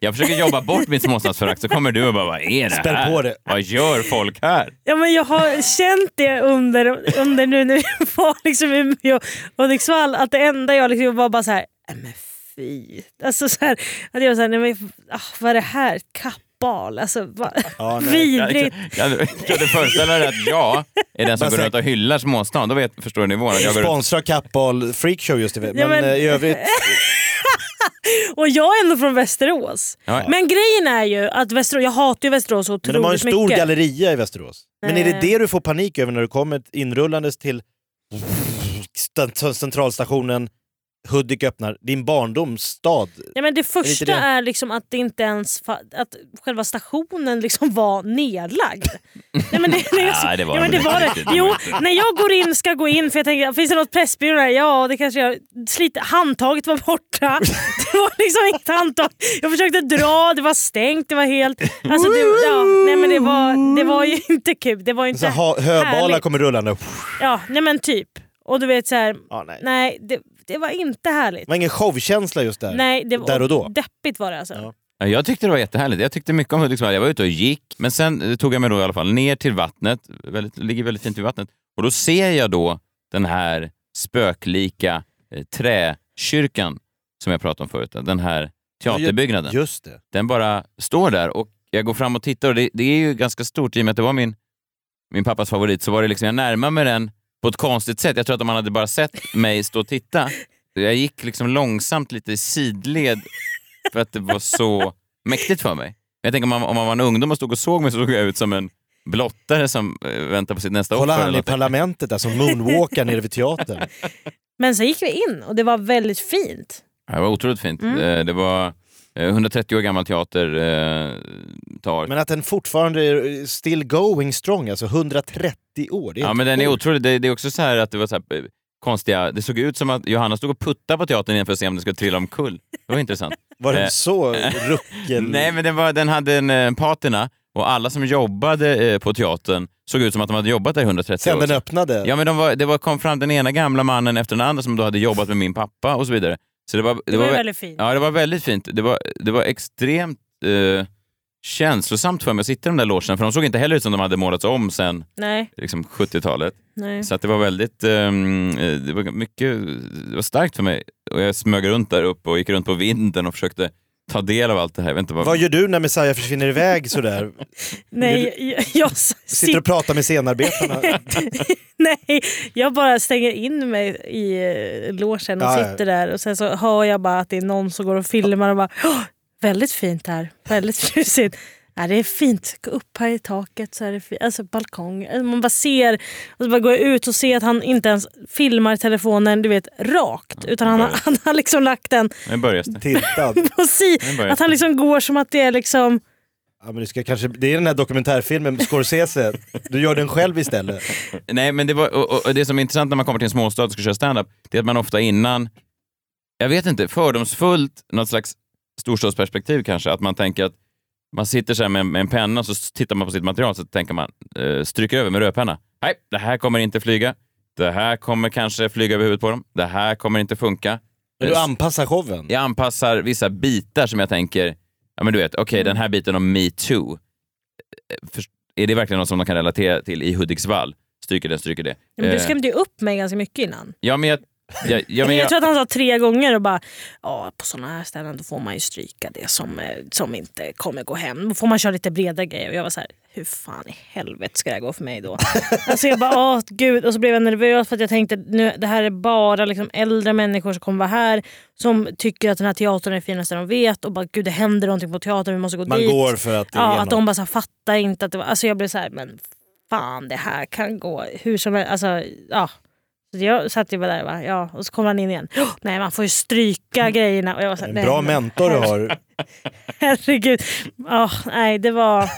Speaker 2: Jag försöker jobba bort mitt småstadsförakt så kommer du och bara, vad är det
Speaker 3: Spänn
Speaker 2: här?
Speaker 3: på det.
Speaker 2: Vad gör folk här?
Speaker 4: Ja, men jag har känt det under, under nu när vi var liksom i Umeå och Hudiksvall att det enda jag liksom var bara så här, "Nej, men fy. Alltså så här, att jag var så här, nej, men, ah, vad är det här? Kappal? Alltså, vad,
Speaker 3: Ja, nej.
Speaker 4: vidrigt.
Speaker 2: Jag kunde föreställa dig att jag är den som går runt och hyllar småstan. Då vet, förstår du nivån. att Jag går runt
Speaker 3: Sponsrar Kappahl Freakshow just det. Men,
Speaker 4: Ja, men-
Speaker 3: eh, i övrigt...
Speaker 4: Och jag är ändå från Västerås.
Speaker 2: Ja.
Speaker 4: Men grejen är ju att Västerås, jag hatar ju Västerås så
Speaker 3: Men de har en
Speaker 4: otroligt
Speaker 3: stor
Speaker 4: mycket.
Speaker 3: galleria i Västerås. Men är det
Speaker 4: Eh.
Speaker 3: det du får panik över när du kommer inrullandes till st- centralstationen, Hudik öppnar, din barndomsstad?
Speaker 4: Ja, men det första
Speaker 3: det.
Speaker 4: är liksom att det inte ens fa- att själva stationen liksom var nedlagd. Nej, men det, nej, jag så-
Speaker 2: Nej, det var
Speaker 4: ja, men
Speaker 2: det
Speaker 4: det.
Speaker 2: inte
Speaker 4: Var
Speaker 2: riktigt.
Speaker 4: det.
Speaker 2: Det
Speaker 4: Jo,
Speaker 2: var inte.
Speaker 4: när jag går in, ska gå in, för jag tänker finns det något pressbyrå här? Ja, det kanske jag... Slit, handtaget var borta. Det var liksom inte handtag. Jag försökte dra, det var stängt, det var helt... Alltså, det, ja, nej, men det, var, det var ju inte kul. Det var ju
Speaker 3: Så
Speaker 4: inte
Speaker 3: här, ha- höbalar
Speaker 4: härligt.
Speaker 3: kommer rullande.
Speaker 4: Ja, nej men typ. Och du vet så här,
Speaker 3: Ja, nej.
Speaker 4: nej det, det var inte härligt.
Speaker 3: Det var ingen showkänsla just där.
Speaker 4: Nej, det var,
Speaker 3: Där och då.
Speaker 4: Deppigt var det alltså.
Speaker 3: Ja.
Speaker 2: Ja, Jag tyckte det var jättehärligt. Jag tyckte mycket om Hudiksvall. Jag var ute och gick, men sen eh, tog jag mig då i alla fall ner till vattnet. Väldigt, ligger väldigt fint vid vattnet. Och då ser jag då den här spöklika eh, träkyrkan som jag pratade om förut. Den här teaterbyggnaden.
Speaker 3: Just det.
Speaker 2: Den bara står där och jag går fram och tittar och det, det är ju ganska stort. I och med att det var min, min pappas favorit så var det liksom, jag närmade mig den på ett konstigt sätt. Jag tror att om han hade bara sett mig stå och titta. Jag gick liksom långsamt lite i sidled för att det var så mäktigt för mig. Men Jag tänker om man, om man var en ungdom och stod och såg mig så såg jag ut som en blottare som eh, väntar på sitt nästa
Speaker 3: Kolla
Speaker 2: offer.
Speaker 3: han
Speaker 2: eller
Speaker 3: i
Speaker 2: något.
Speaker 3: parlamentet där som moonwalkar nere vid teatern.
Speaker 4: Men sen gick vi in och det var väldigt fint.
Speaker 2: Ja, Det var otroligt fint.
Speaker 3: Mm.
Speaker 2: Eh, Det var eh, 130 år gammal teater. Eh, tar.
Speaker 3: Men att den fortfarande är still going strong, alltså 130 år. Det är
Speaker 2: ja,
Speaker 3: helt
Speaker 2: men den är
Speaker 3: sjukt.
Speaker 2: otrolig. Det, det är också så här att det var så här eh, konstiga... Det såg ut som att Johanna stod och puttade på teatern igen för att se om den skulle trilla omkull. Det var intressant.
Speaker 3: Var
Speaker 2: Eh.
Speaker 3: den så ruckel?
Speaker 2: Nej, men den, var, den hade en eh, patina och alla som jobbade eh, på teatern såg ut som att de hade jobbat där i 130
Speaker 3: Sen
Speaker 2: år.
Speaker 3: den öppnade?
Speaker 2: Ja, men de var, det var, kom fram den ena gamla mannen efter den andra som då hade jobbat med min pappa och så vidare. Så det var,
Speaker 4: Det var ju
Speaker 2: vä-
Speaker 4: väldigt fint.
Speaker 2: Ja, det var väldigt fint. Det var, det var extremt eh, känslosamt för mig att sitta i de där logerna, för de såg inte heller ut som de hade målats om sen
Speaker 4: Nej,
Speaker 2: liksom, 70-talet.
Speaker 4: nej.
Speaker 2: Så att det var väldigt ehm, eh, det var mycket, det var starkt för mig. Och jag smög runt där uppe och gick runt på vinden och försökte ta del av allt det här. Jag vet inte vad...
Speaker 3: Vad gör du när Messiah försvinner iväg sådär?
Speaker 4: nej jag, jag
Speaker 3: Sitter och pratar med scenarbetarna?
Speaker 4: Nej, jag bara stänger in mig i eh, logen och
Speaker 3: Ja, ja.
Speaker 4: sitter där och sen så hör jag bara att det är någon som går och filmar och bara "Åh, väldigt fint här, väldigt tjusigt. Ja, det är fint, gå upp här i taket, så är det fint. Alltså, balkong. Alltså, Man bara ser, och så bara går jag ut och ser att han inte ens filmar telefonen du vet, rakt utan han har, han har liksom lagt den
Speaker 2: Nu börjar det.
Speaker 3: Tiltad?
Speaker 4: på si,
Speaker 2: Nu börjar
Speaker 4: att han liksom går som att det är liksom
Speaker 3: Ja, men du ska kanske... Det är den här dokumentärfilmen, Scorsese. Du gör den själv istället.
Speaker 2: Nej, men det, var, och, och- och det som är intressant när man kommer till en småstad och ska köra stand-up det är att man ofta innan, jag vet inte, fördomsfullt, något slags storstadsperspektiv kanske, att man tänker att man sitter så här med, med en penna och så tittar man på sitt material så tänker man, eh, stryk över med rödpenna. Nej, det här kommer inte flyga. Det här kommer kanske flyga över huvudet på dem. Det här kommer inte funka.
Speaker 3: Men du anpassar showen.
Speaker 2: Jag anpassar vissa bitar som jag tänker, ja men du vet, okej den här biten om metoo, eh, för- är det verkligen något som de kan relatera till i Hudiksvall? Stryker det, stryker det.
Speaker 4: Men du
Speaker 2: Eh,
Speaker 4: skrämde ju upp mig ganska mycket innan.
Speaker 2: Ja, men jag... jag, ja, men
Speaker 4: jag,
Speaker 2: jag
Speaker 4: tror att han sa tre gånger och bara, ja på sådana här ställen då får man ju stryka det som, eh, som inte kommer gå hem. Då får man köra lite breda grejer. Och jag var så här, hur fan i helvete ska det här gå för mig då? alltså jag bara, åh gud. Och så blev jag nervös för att jag tänkte, nu, det här är bara liksom äldre människor som kommer vara här. Som tycker att den här teatern är det finaste de vet. Och bara, gud det händer någonting på teatern, vi måste gå
Speaker 3: Man
Speaker 4: dit.
Speaker 3: går för att det
Speaker 4: Ja,
Speaker 3: är
Speaker 4: att de
Speaker 3: något.
Speaker 4: bara så här, fattar inte att det var... Alltså jag blev så här, men fan det här kan gå hur som helst. Alltså, ja. Så jag satt ju bara där va? Ja. och så kom han in igen. "Åh, nej man får ju stryka
Speaker 2: Mm.
Speaker 4: grejerna. Och jag var så här,
Speaker 3: En
Speaker 4: nej,
Speaker 3: bra
Speaker 4: men
Speaker 3: mentor du har.
Speaker 4: Herregud. Ja, nej det var...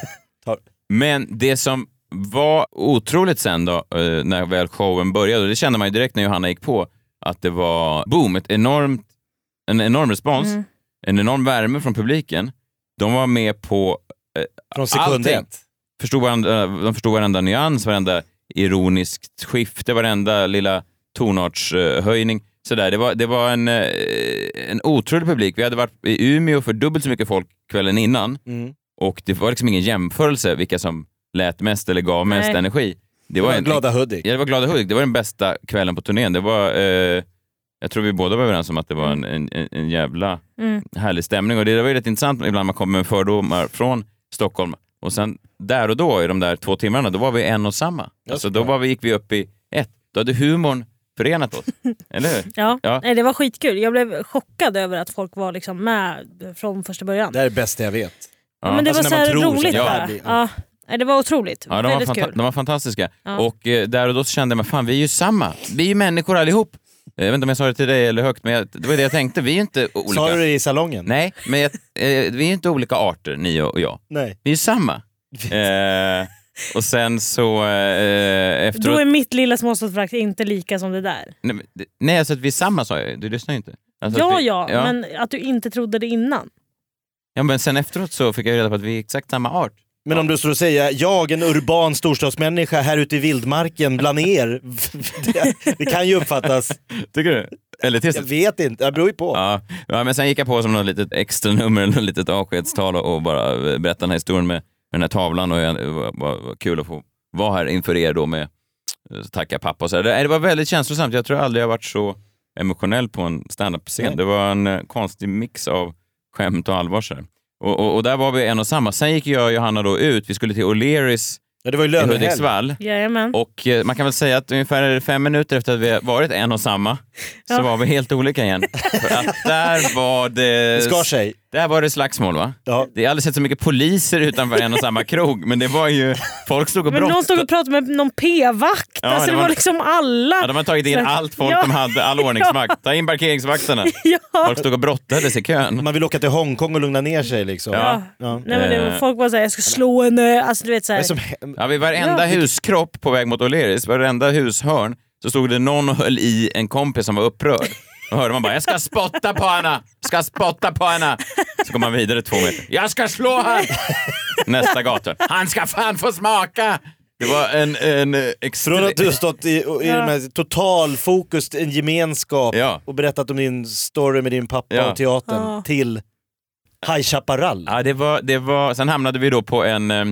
Speaker 2: Men det som var otroligt sen då, eh, när väl showen började, och det kände man ju direkt när Johanna gick på, att det var boom, ett enormt, en enorm respons,
Speaker 4: Mm.
Speaker 2: en enorm värme från publiken. De var med på,
Speaker 3: Från sekund
Speaker 2: Allting.
Speaker 3: ett.
Speaker 2: förstod varandra, de förstod varenda nyans, varenda ironiskt skifte, varenda lilla tonartshöjning. Sådär. Det var, det var en, eh, en otrolig publik. Vi hade varit i Umeå för dubbelt så mycket folk kvällen innan.
Speaker 3: Mm.
Speaker 2: Och det var liksom ingen jämförelse vilka som lät mest eller gav mest
Speaker 4: Nej.
Speaker 2: energi. Det var,
Speaker 3: var
Speaker 2: en,
Speaker 3: glada Hudik.
Speaker 2: ja, det var Glada Hudik. Det var den bästa kvällen på turnén. Det var, eh, jag tror vi båda var överens om att det var en, en, en- en jävla
Speaker 4: Mm.
Speaker 2: härlig stämning. Och det var ju rätt intressant ibland man kommer med fördomar från Stockholm. Och sen där och då, i de där två timmarna, då var vi en och samma. Alltså, då var vi, gick vi upp i ett. Då hade humorn förenat oss. Eller hur?
Speaker 4: Ja.
Speaker 2: Ja.
Speaker 4: Nej, det var skitkul. Jag blev chockad över att folk var liksom med från första början.
Speaker 3: Det här är det bästa jag vet.
Speaker 4: ja, men det
Speaker 3: Alltså,
Speaker 4: var så
Speaker 3: när man
Speaker 4: här
Speaker 3: tror så
Speaker 4: roligt
Speaker 3: här,
Speaker 4: bara.
Speaker 3: ja.
Speaker 4: Ja. Nej, det var otroligt.
Speaker 2: Ja, de, var
Speaker 4: Väldigt
Speaker 2: fanta-
Speaker 4: kul.
Speaker 2: de var fantastiska.
Speaker 4: Ja.
Speaker 2: Och eh, där och då så kände jag, men fan vi är ju samma. Vi är ju människor allihop. Eh, Jag vet inte om jag sa det till dig eller högt, men jag, det var det jag tänkte. Vi är ju inte olika.
Speaker 3: Sa du det i salongen?
Speaker 2: Nej, men jag, eh, vi är ju inte olika arter, ni och jag.
Speaker 3: Nej.
Speaker 2: Vi är ju samma. Eh, och sen så eh,
Speaker 4: Då
Speaker 2: efteråt...
Speaker 4: är mitt lilla småstadsförakt inte lika som det där.
Speaker 2: Nej, men det- Nej, alltså att vi är samma sa jag ju. Du lyssnar ju inte. Alltså att
Speaker 4: Ja,
Speaker 2: vi,
Speaker 4: ja, men att du inte trodde det innan.
Speaker 2: ja, men sen efteråt så fick jag ju reda på att vi är exakt samma art.
Speaker 3: Men om du står och säger, jag en urban storstadsmänniska här ute i vildmarken bland er. det, det kan ju uppfattas,
Speaker 2: Tycker du? Eller tills
Speaker 3: jag vet inte, det beror ju på.
Speaker 2: Ja, ja, men sen gick jag på som något litet extra nummer, något litet avskedstal och och bara eh, berättade den här historien med, med den här tavlan och jag- det var, var, var kul att få vara här inför er då med eh, tacka pappa och så där. det, det var väldigt känslosamt. Jag tror aldrig jag varit så emotionell på en standup-scen.
Speaker 3: Nej.
Speaker 2: Det var en eh, konstig mix av skämt och allvar. Så här. och, och, och där var vi en och samma. Sen gick jag och Johanna då ut. Vi skulle till O'Learys
Speaker 3: Ja, det var ju
Speaker 2: i
Speaker 3: lönehelg.
Speaker 2: Hudiksvall.
Speaker 4: Jajamän.
Speaker 2: Och eh, man kan väl säga att ungefär fem minuter efter att vi har varit en och samma så var vi helt olika igen. För att där var det...
Speaker 3: Det skar sig.
Speaker 2: Där var det slagsmål va?
Speaker 3: Ja.
Speaker 2: Det har aldrig sett så mycket poliser utanför en och samma krog, men det var ju... Folk stod och
Speaker 4: Men någon stod
Speaker 2: brottade.
Speaker 4: och pratade med någon p-vakt.
Speaker 2: Ja,
Speaker 4: alltså,
Speaker 2: det
Speaker 4: det
Speaker 2: var-
Speaker 4: var, liksom alla.
Speaker 2: Ja, de har tagit in
Speaker 4: Så-
Speaker 2: allt folk
Speaker 4: Ja.
Speaker 2: de hade, all ordningsmakt. Ta in parkeringsvakterna.
Speaker 4: Ja.
Speaker 2: Folk stod och brottades i kön.
Speaker 3: Man vill åka till Hongkong och lugna ner sig liksom.
Speaker 2: Ja.
Speaker 3: Ja.
Speaker 4: Nej, men det
Speaker 2: Eh.
Speaker 4: var, folk var såhär, jag ska slå henne. Alltså, du vet, såhär.
Speaker 3: Vad är det som-
Speaker 2: Ja, vid varenda huskropp på väg mot O'Learys, varenda hushörn, så stod det någon och höll i en kompis som var upprörd. Då hörde man bara “Jag ska spotta på henne! Ska spotta på henne!” Så kom man vidare två meter. “Jag ska slå han!” Nästa gata. “Han ska fan få smaka!” Det var en, en eh, extre-
Speaker 3: Från att du har stått i, i den här total fokus, en gemenskap
Speaker 2: Ja.
Speaker 3: och berättat om din story med din pappa
Speaker 2: Ja.
Speaker 3: och teatern
Speaker 4: Ja.
Speaker 3: till High Chaparral.
Speaker 2: Ja, det var, det var... Sen hamnade vi då på en, eh,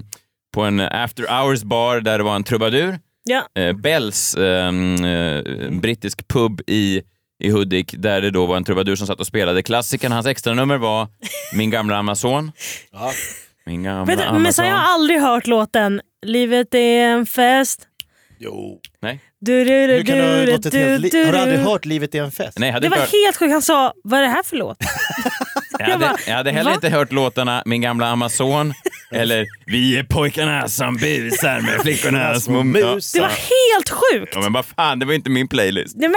Speaker 2: på en after hours bar där det var en trubadur.
Speaker 4: Ja.
Speaker 2: eh, Bells, eh, eh, brittisk pub i, i Hudik, där det då var en trubadur som satt och spelade klassikern. Hans extranummer var Min gamla Amazon.
Speaker 3: Ja.
Speaker 2: Min gamla
Speaker 4: Vet du,
Speaker 2: Amazon.
Speaker 4: men sen har jag aldrig hört låten Livet är en fest.
Speaker 3: Jo.
Speaker 2: Nej,
Speaker 4: Du, du, du,
Speaker 3: Hur kan du ha
Speaker 4: du,
Speaker 3: låtit
Speaker 4: du,
Speaker 3: helt li-
Speaker 4: du,
Speaker 3: Har du aldrig
Speaker 4: du.
Speaker 3: hört Livet är en fest?
Speaker 2: nej jag hade
Speaker 4: Det var
Speaker 2: inte hört-
Speaker 4: helt sjukt. Han sa, vad är det här för låt?
Speaker 2: jag hade,
Speaker 4: bara,
Speaker 2: jag hade heller
Speaker 4: va?
Speaker 2: inte hört låtarna Min gamla Amazon eller Vi är pojkarna som busar med flickorna små mus.
Speaker 3: Mus.
Speaker 4: Det var helt sjukt!
Speaker 2: Ja, men vad fan, det var inte min playlist.
Speaker 4: Nej, men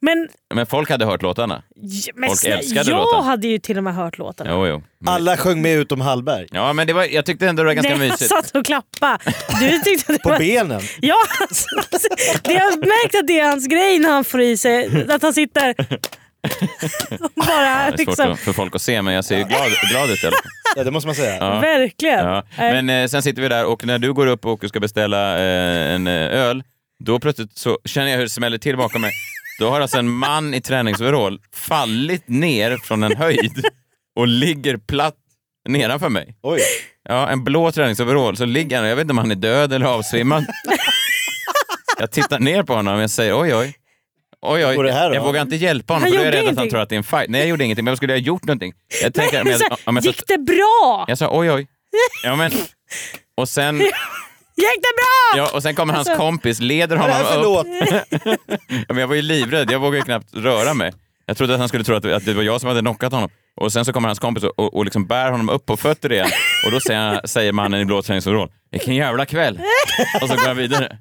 Speaker 4: men,
Speaker 2: Men folk hade hört låtarna.
Speaker 4: j- men
Speaker 2: Folk
Speaker 4: snälla,
Speaker 2: älskade
Speaker 4: jag
Speaker 2: låten.
Speaker 4: hade ju till och med hört låten.
Speaker 2: Jo, jo. Men,
Speaker 3: Alla sjöng med utom Hallberg.
Speaker 2: ja, men det var, jag tyckte ändå det var ganska
Speaker 4: Nej, alltså, han
Speaker 2: mysigt.
Speaker 4: satt och klappade. Du tyckte att det
Speaker 3: På
Speaker 4: var...
Speaker 3: benen.
Speaker 4: Ja, alltså, det, jag har märkt att det är hans grej när han får i sig. Att han sitter och bara
Speaker 2: Det är svårt
Speaker 4: liksom...
Speaker 2: att- för folk att se, men jag ser ju glad, glad ut i alla fall.
Speaker 3: Ja, det måste man säga.
Speaker 2: Ja.
Speaker 4: Verkligen.
Speaker 2: Ja.
Speaker 4: Nej.
Speaker 2: Men eh, sen sitter vi där och när du går upp och ska beställa eh, en eh, öl, då plötsligt så känner jag hur det smäller till bakom mig. Då har alltså en man i träningsoverall fallit ner från en höjd och ligger platt nedanför mig.
Speaker 3: Oj.
Speaker 2: Ja, en blå träningsoverall, så ligger han, jag vet inte om han är död eller avsvimmad. Jag tittar ner på honom och jag säger oj, oj. Oj, oj.
Speaker 3: går det här då?
Speaker 2: jag vågar inte hjälpa honom
Speaker 4: Han
Speaker 2: för då är jag
Speaker 4: gjorde
Speaker 2: rädd att han
Speaker 4: ingenting.
Speaker 2: tror att det är en fight. Nej, jag gjorde ingenting, men skulle jag ha gjort någonting? Jag tänker, om
Speaker 4: Men
Speaker 2: jag,
Speaker 4: så här,
Speaker 2: om jag,
Speaker 4: gick det bra?
Speaker 2: jag sa oj, oj. Ja, men, och sen
Speaker 4: Gick det bra?
Speaker 2: Ja, och sen kommer hans
Speaker 4: Alltså-
Speaker 2: kompis, leder
Speaker 3: Vad är det här för
Speaker 2: honom upp.
Speaker 3: låt?
Speaker 2: Ja, Men jag var ju livrädd, jag vågade ju knappt röra mig. Jag trodde att han skulle tro att, att det var jag som hade knockat honom. Och sen så kommer hans kompis och- och, och liksom bär honom upp på fötter igen. Och då säger, säger mannen i blå träningsoverall, vilken jävla kväll. Och så går han vidare.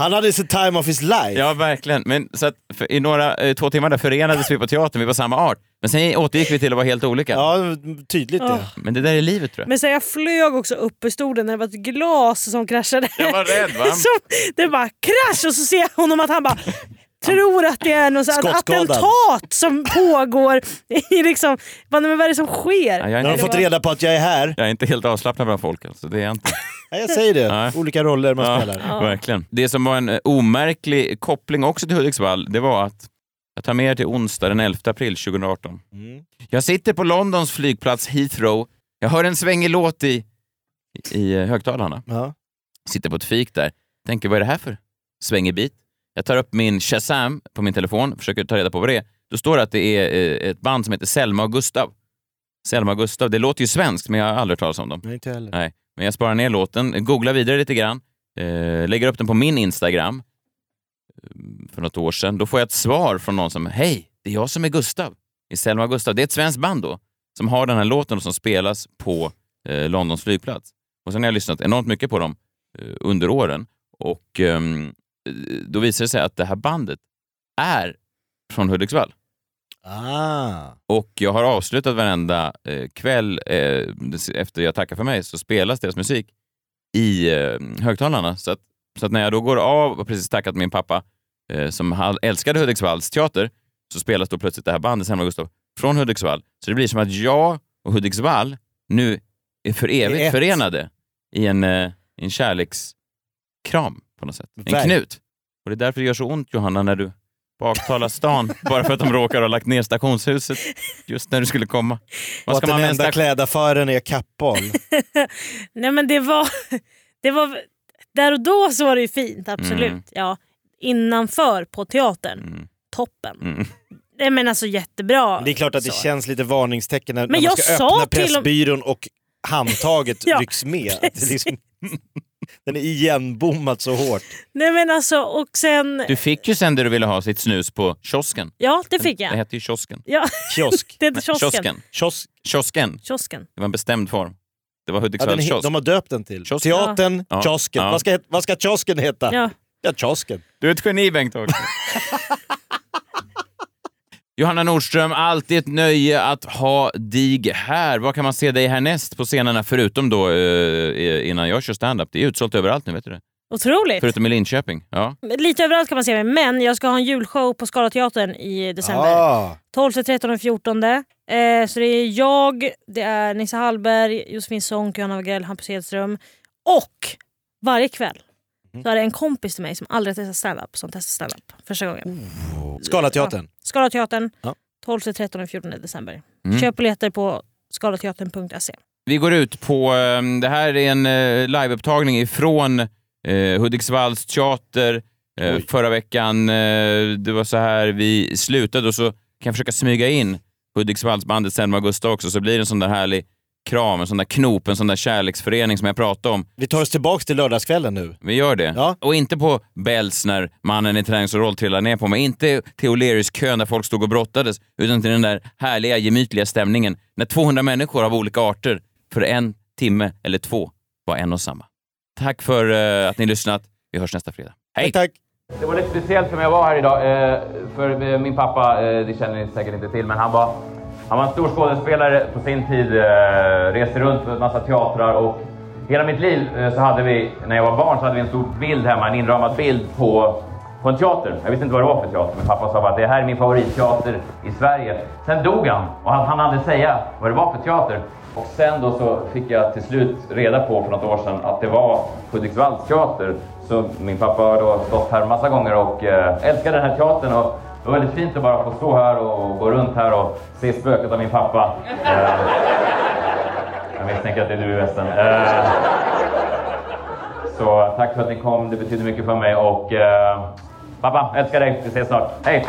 Speaker 3: Han hade sin time of his life.
Speaker 2: Ja, verkligen. Men, så att, för, I några eh, två timmar där förenades vi på teatern, vi var samma art. Men sen återgick vi till att vara helt olika.
Speaker 3: Ja, tydligt
Speaker 4: Åh.
Speaker 3: det.
Speaker 2: Men det där är livet tror jag.
Speaker 4: Men sen jag flög också upp ur stolen när det var ett glas som kraschade.
Speaker 2: Jag var rädd, va?
Speaker 4: Som, det bara krasch och så ser jag honom att han bara tror att det är något sånt här
Speaker 3: Skottskadad.
Speaker 4: attentat som pågår. I liksom, bara, men vad är det som sker?
Speaker 2: Ja, jag, är
Speaker 3: När de
Speaker 2: inte,
Speaker 3: fått reda på att jag är här.
Speaker 2: jag är inte helt avslappnad bland folk. Alltså. Det är jag inte.
Speaker 3: Ja, jag säger det.
Speaker 2: Nej.
Speaker 3: Olika roller man spelar.
Speaker 2: Ja, verkligen. Det som var en eh, omärklig koppling också till Hudiksvall, det var att jag tar med er till onsdag den 11 april 2018.
Speaker 3: Mm.
Speaker 2: Jag sitter på Londons flygplats Heathrow. Jag hör en svängig låt i, i eh, högtalarna.
Speaker 3: Ja.
Speaker 2: Sitter på ett fik där. Tänker, vad är det här för svängig bit? Jag tar upp min Shazam på min telefon, försöker ta reda på vad det är. Då står det att det är eh, ett band som heter Selma och Gustav. Selma och Gustav, det låter ju svenskt, men jag har aldrig hört talas om dem.
Speaker 3: Nej, inte heller.
Speaker 2: Nej, men jag sparar ner låten, googlar vidare lite grann, eh, lägger upp den på min Instagram eh, för något år sedan. Då får jag ett svar från någon som “Hej, det är jag som är Gustav i Selma och Gustav”. Det är ett svenskt band då, som har den här låten och som spelas på eh, Londons flygplats. Och sen har jag lyssnat enormt mycket på dem eh, under åren och ehm, eh, då visar det sig att det här bandet är från Hudiksvall.
Speaker 3: Ah.
Speaker 2: Och jag har avslutat varenda eh, kväll eh, des- efter jag tackar för mig så spelas deras musik i eh, högtalarna. Så att, så att när jag då går av och precis tackat min pappa eh, som hal- älskade Hudiksvalls teater så spelas då plötsligt det här bandet, Selma och Gustav, från Hudiksvall. Så det blir som att jag och Hudiksvall nu är för evigt
Speaker 3: Det är ett.
Speaker 2: förenade i en, eh, i en kärlekskram på något sätt. En
Speaker 3: Verk-
Speaker 2: knut. Och det är därför det gör så ont Johanna när du baktalar stan bara för att de råkar ha lagt ner stationshuset just när du skulle komma. Vad
Speaker 3: Och
Speaker 2: ska man
Speaker 3: att den
Speaker 2: med en
Speaker 3: enda
Speaker 2: station?
Speaker 3: klädaffären är Kappahl.
Speaker 4: Nej men det var, det var... Där och då så var det ju fint, absolut.
Speaker 2: Mm.
Speaker 4: Ja, innanför på teatern,
Speaker 2: Mm.
Speaker 4: toppen.
Speaker 2: Mm.
Speaker 4: Nej men alltså jättebra.
Speaker 3: Det är klart att det
Speaker 4: Så.
Speaker 3: känns lite varningstecken när, när
Speaker 4: Men
Speaker 3: man
Speaker 4: jag
Speaker 3: ska
Speaker 4: sa
Speaker 3: öppna
Speaker 4: till och-
Speaker 3: Pressbyrån och handtaget
Speaker 4: Ja,
Speaker 3: rycks med. Det är liksom, Den är igenbommad så hårt.
Speaker 4: Nej men alltså, och sen...
Speaker 2: Du fick ju sen det du ville ha, sitt snus på kiosken.
Speaker 4: Ja, det fick
Speaker 2: Det
Speaker 4: jag.
Speaker 2: hette ju kiosken.
Speaker 4: Ja,
Speaker 3: Kiosk.
Speaker 4: det är kiosken.
Speaker 2: Kiosken.
Speaker 3: Kiosk.
Speaker 2: Kiosken.
Speaker 4: Kiosken.
Speaker 2: Det var en bestämd form. Det var
Speaker 3: Ja, den,
Speaker 2: Hudiksvalls
Speaker 3: he-
Speaker 2: kiosk.
Speaker 3: de har döpt den till.
Speaker 2: Kiosk.
Speaker 3: Teatern,
Speaker 2: Ja.
Speaker 3: kiosken.
Speaker 2: Ja.
Speaker 3: Vad, ska, vad ska kiosken heta? Ja,
Speaker 4: Ja.
Speaker 3: kiosken.
Speaker 2: Du är ett geni bengt Johanna Nordström, alltid ett nöje att ha dig här. Vad kan man se dig härnäst på scenerna förutom då eh, innan jag kör stand-up? Det är utsålt överallt nu, vet du det?
Speaker 4: Otroligt.
Speaker 2: Förutom i Linköping. Ja.
Speaker 4: Lite överallt kan man se mig, men jag ska ha en julshow på Skala teatern i december.
Speaker 3: Ah.
Speaker 4: 12, 13 och 14. Eh, så det är jag, det är Nisse Hallberg, Josefin Sonck, Johanna Wagrell, Hampus Hedström. Och varje kväll så är det en kompis till mig som aldrig har testat standup som testar standup första gången.
Speaker 3: Skalateatern.
Speaker 4: Skala teatern,
Speaker 3: Ja.
Speaker 4: 12, 13 och 14 december.
Speaker 2: Mm.
Speaker 4: Köp biljetter på skalateatern.se.
Speaker 2: Vi går ut på... eh, Det här är en eh, liveupptagning ifrån eh, Hudiksvalls teater. Eh,
Speaker 3: Oj.
Speaker 2: förra veckan, eh, det var så här vi slutade och så kan jag försöka smyga in Hudiksvallsbandet Selma och Augusta också, så blir det en sån där härlig kram, en sån där knop, en sån där kärleksförening som jag pratade om.
Speaker 3: Vi tar oss tillbaka till lördagskvällen nu.
Speaker 2: Vi gör det.
Speaker 3: Ja.
Speaker 2: Och inte på Bells när mannen i träningsoverall trillar ner på mig. Inte till O'Learys kön där folk stod och brottades. Utan till den där härliga, gemytliga stämningen. När 200 människor av olika arter för en timme eller två var en och samma. Tack för eh, att ni lyssnat. Vi hörs nästa fredag. Hej!
Speaker 3: Tack.
Speaker 5: Det var lite speciellt för mig att vara här idag. eh, För eh, min pappa, eh, det känner ni säkert inte till, men han var, han var en stor skådespelare på sin tid. eh, Reste runt på en massa teatrar och hela mitt liv eh, så hade vi, när jag var barn, så hade vi en stor bild hemma, en inramad bild på, på en teater. Jag visste inte vad det var för teater, men pappa sa bara att det här är min favoritteater i Sverige. Sen dog han och han hann aldrig säga vad det var för teater. Och sen då så fick jag till slut reda på för något år sedan att det var Hudiksvalls teater. Så min pappa har då stått här massa gånger och eh, älskar den här teatern. Och det var väldigt fint att bara få stå här och gå runt här och se spöket av min pappa. Eh, jag misstänker att det är du i västen. Eh, så tack för att ni kom, det betyder mycket för mig och eh, pappa, älskar dig, vi ses snart. Hej!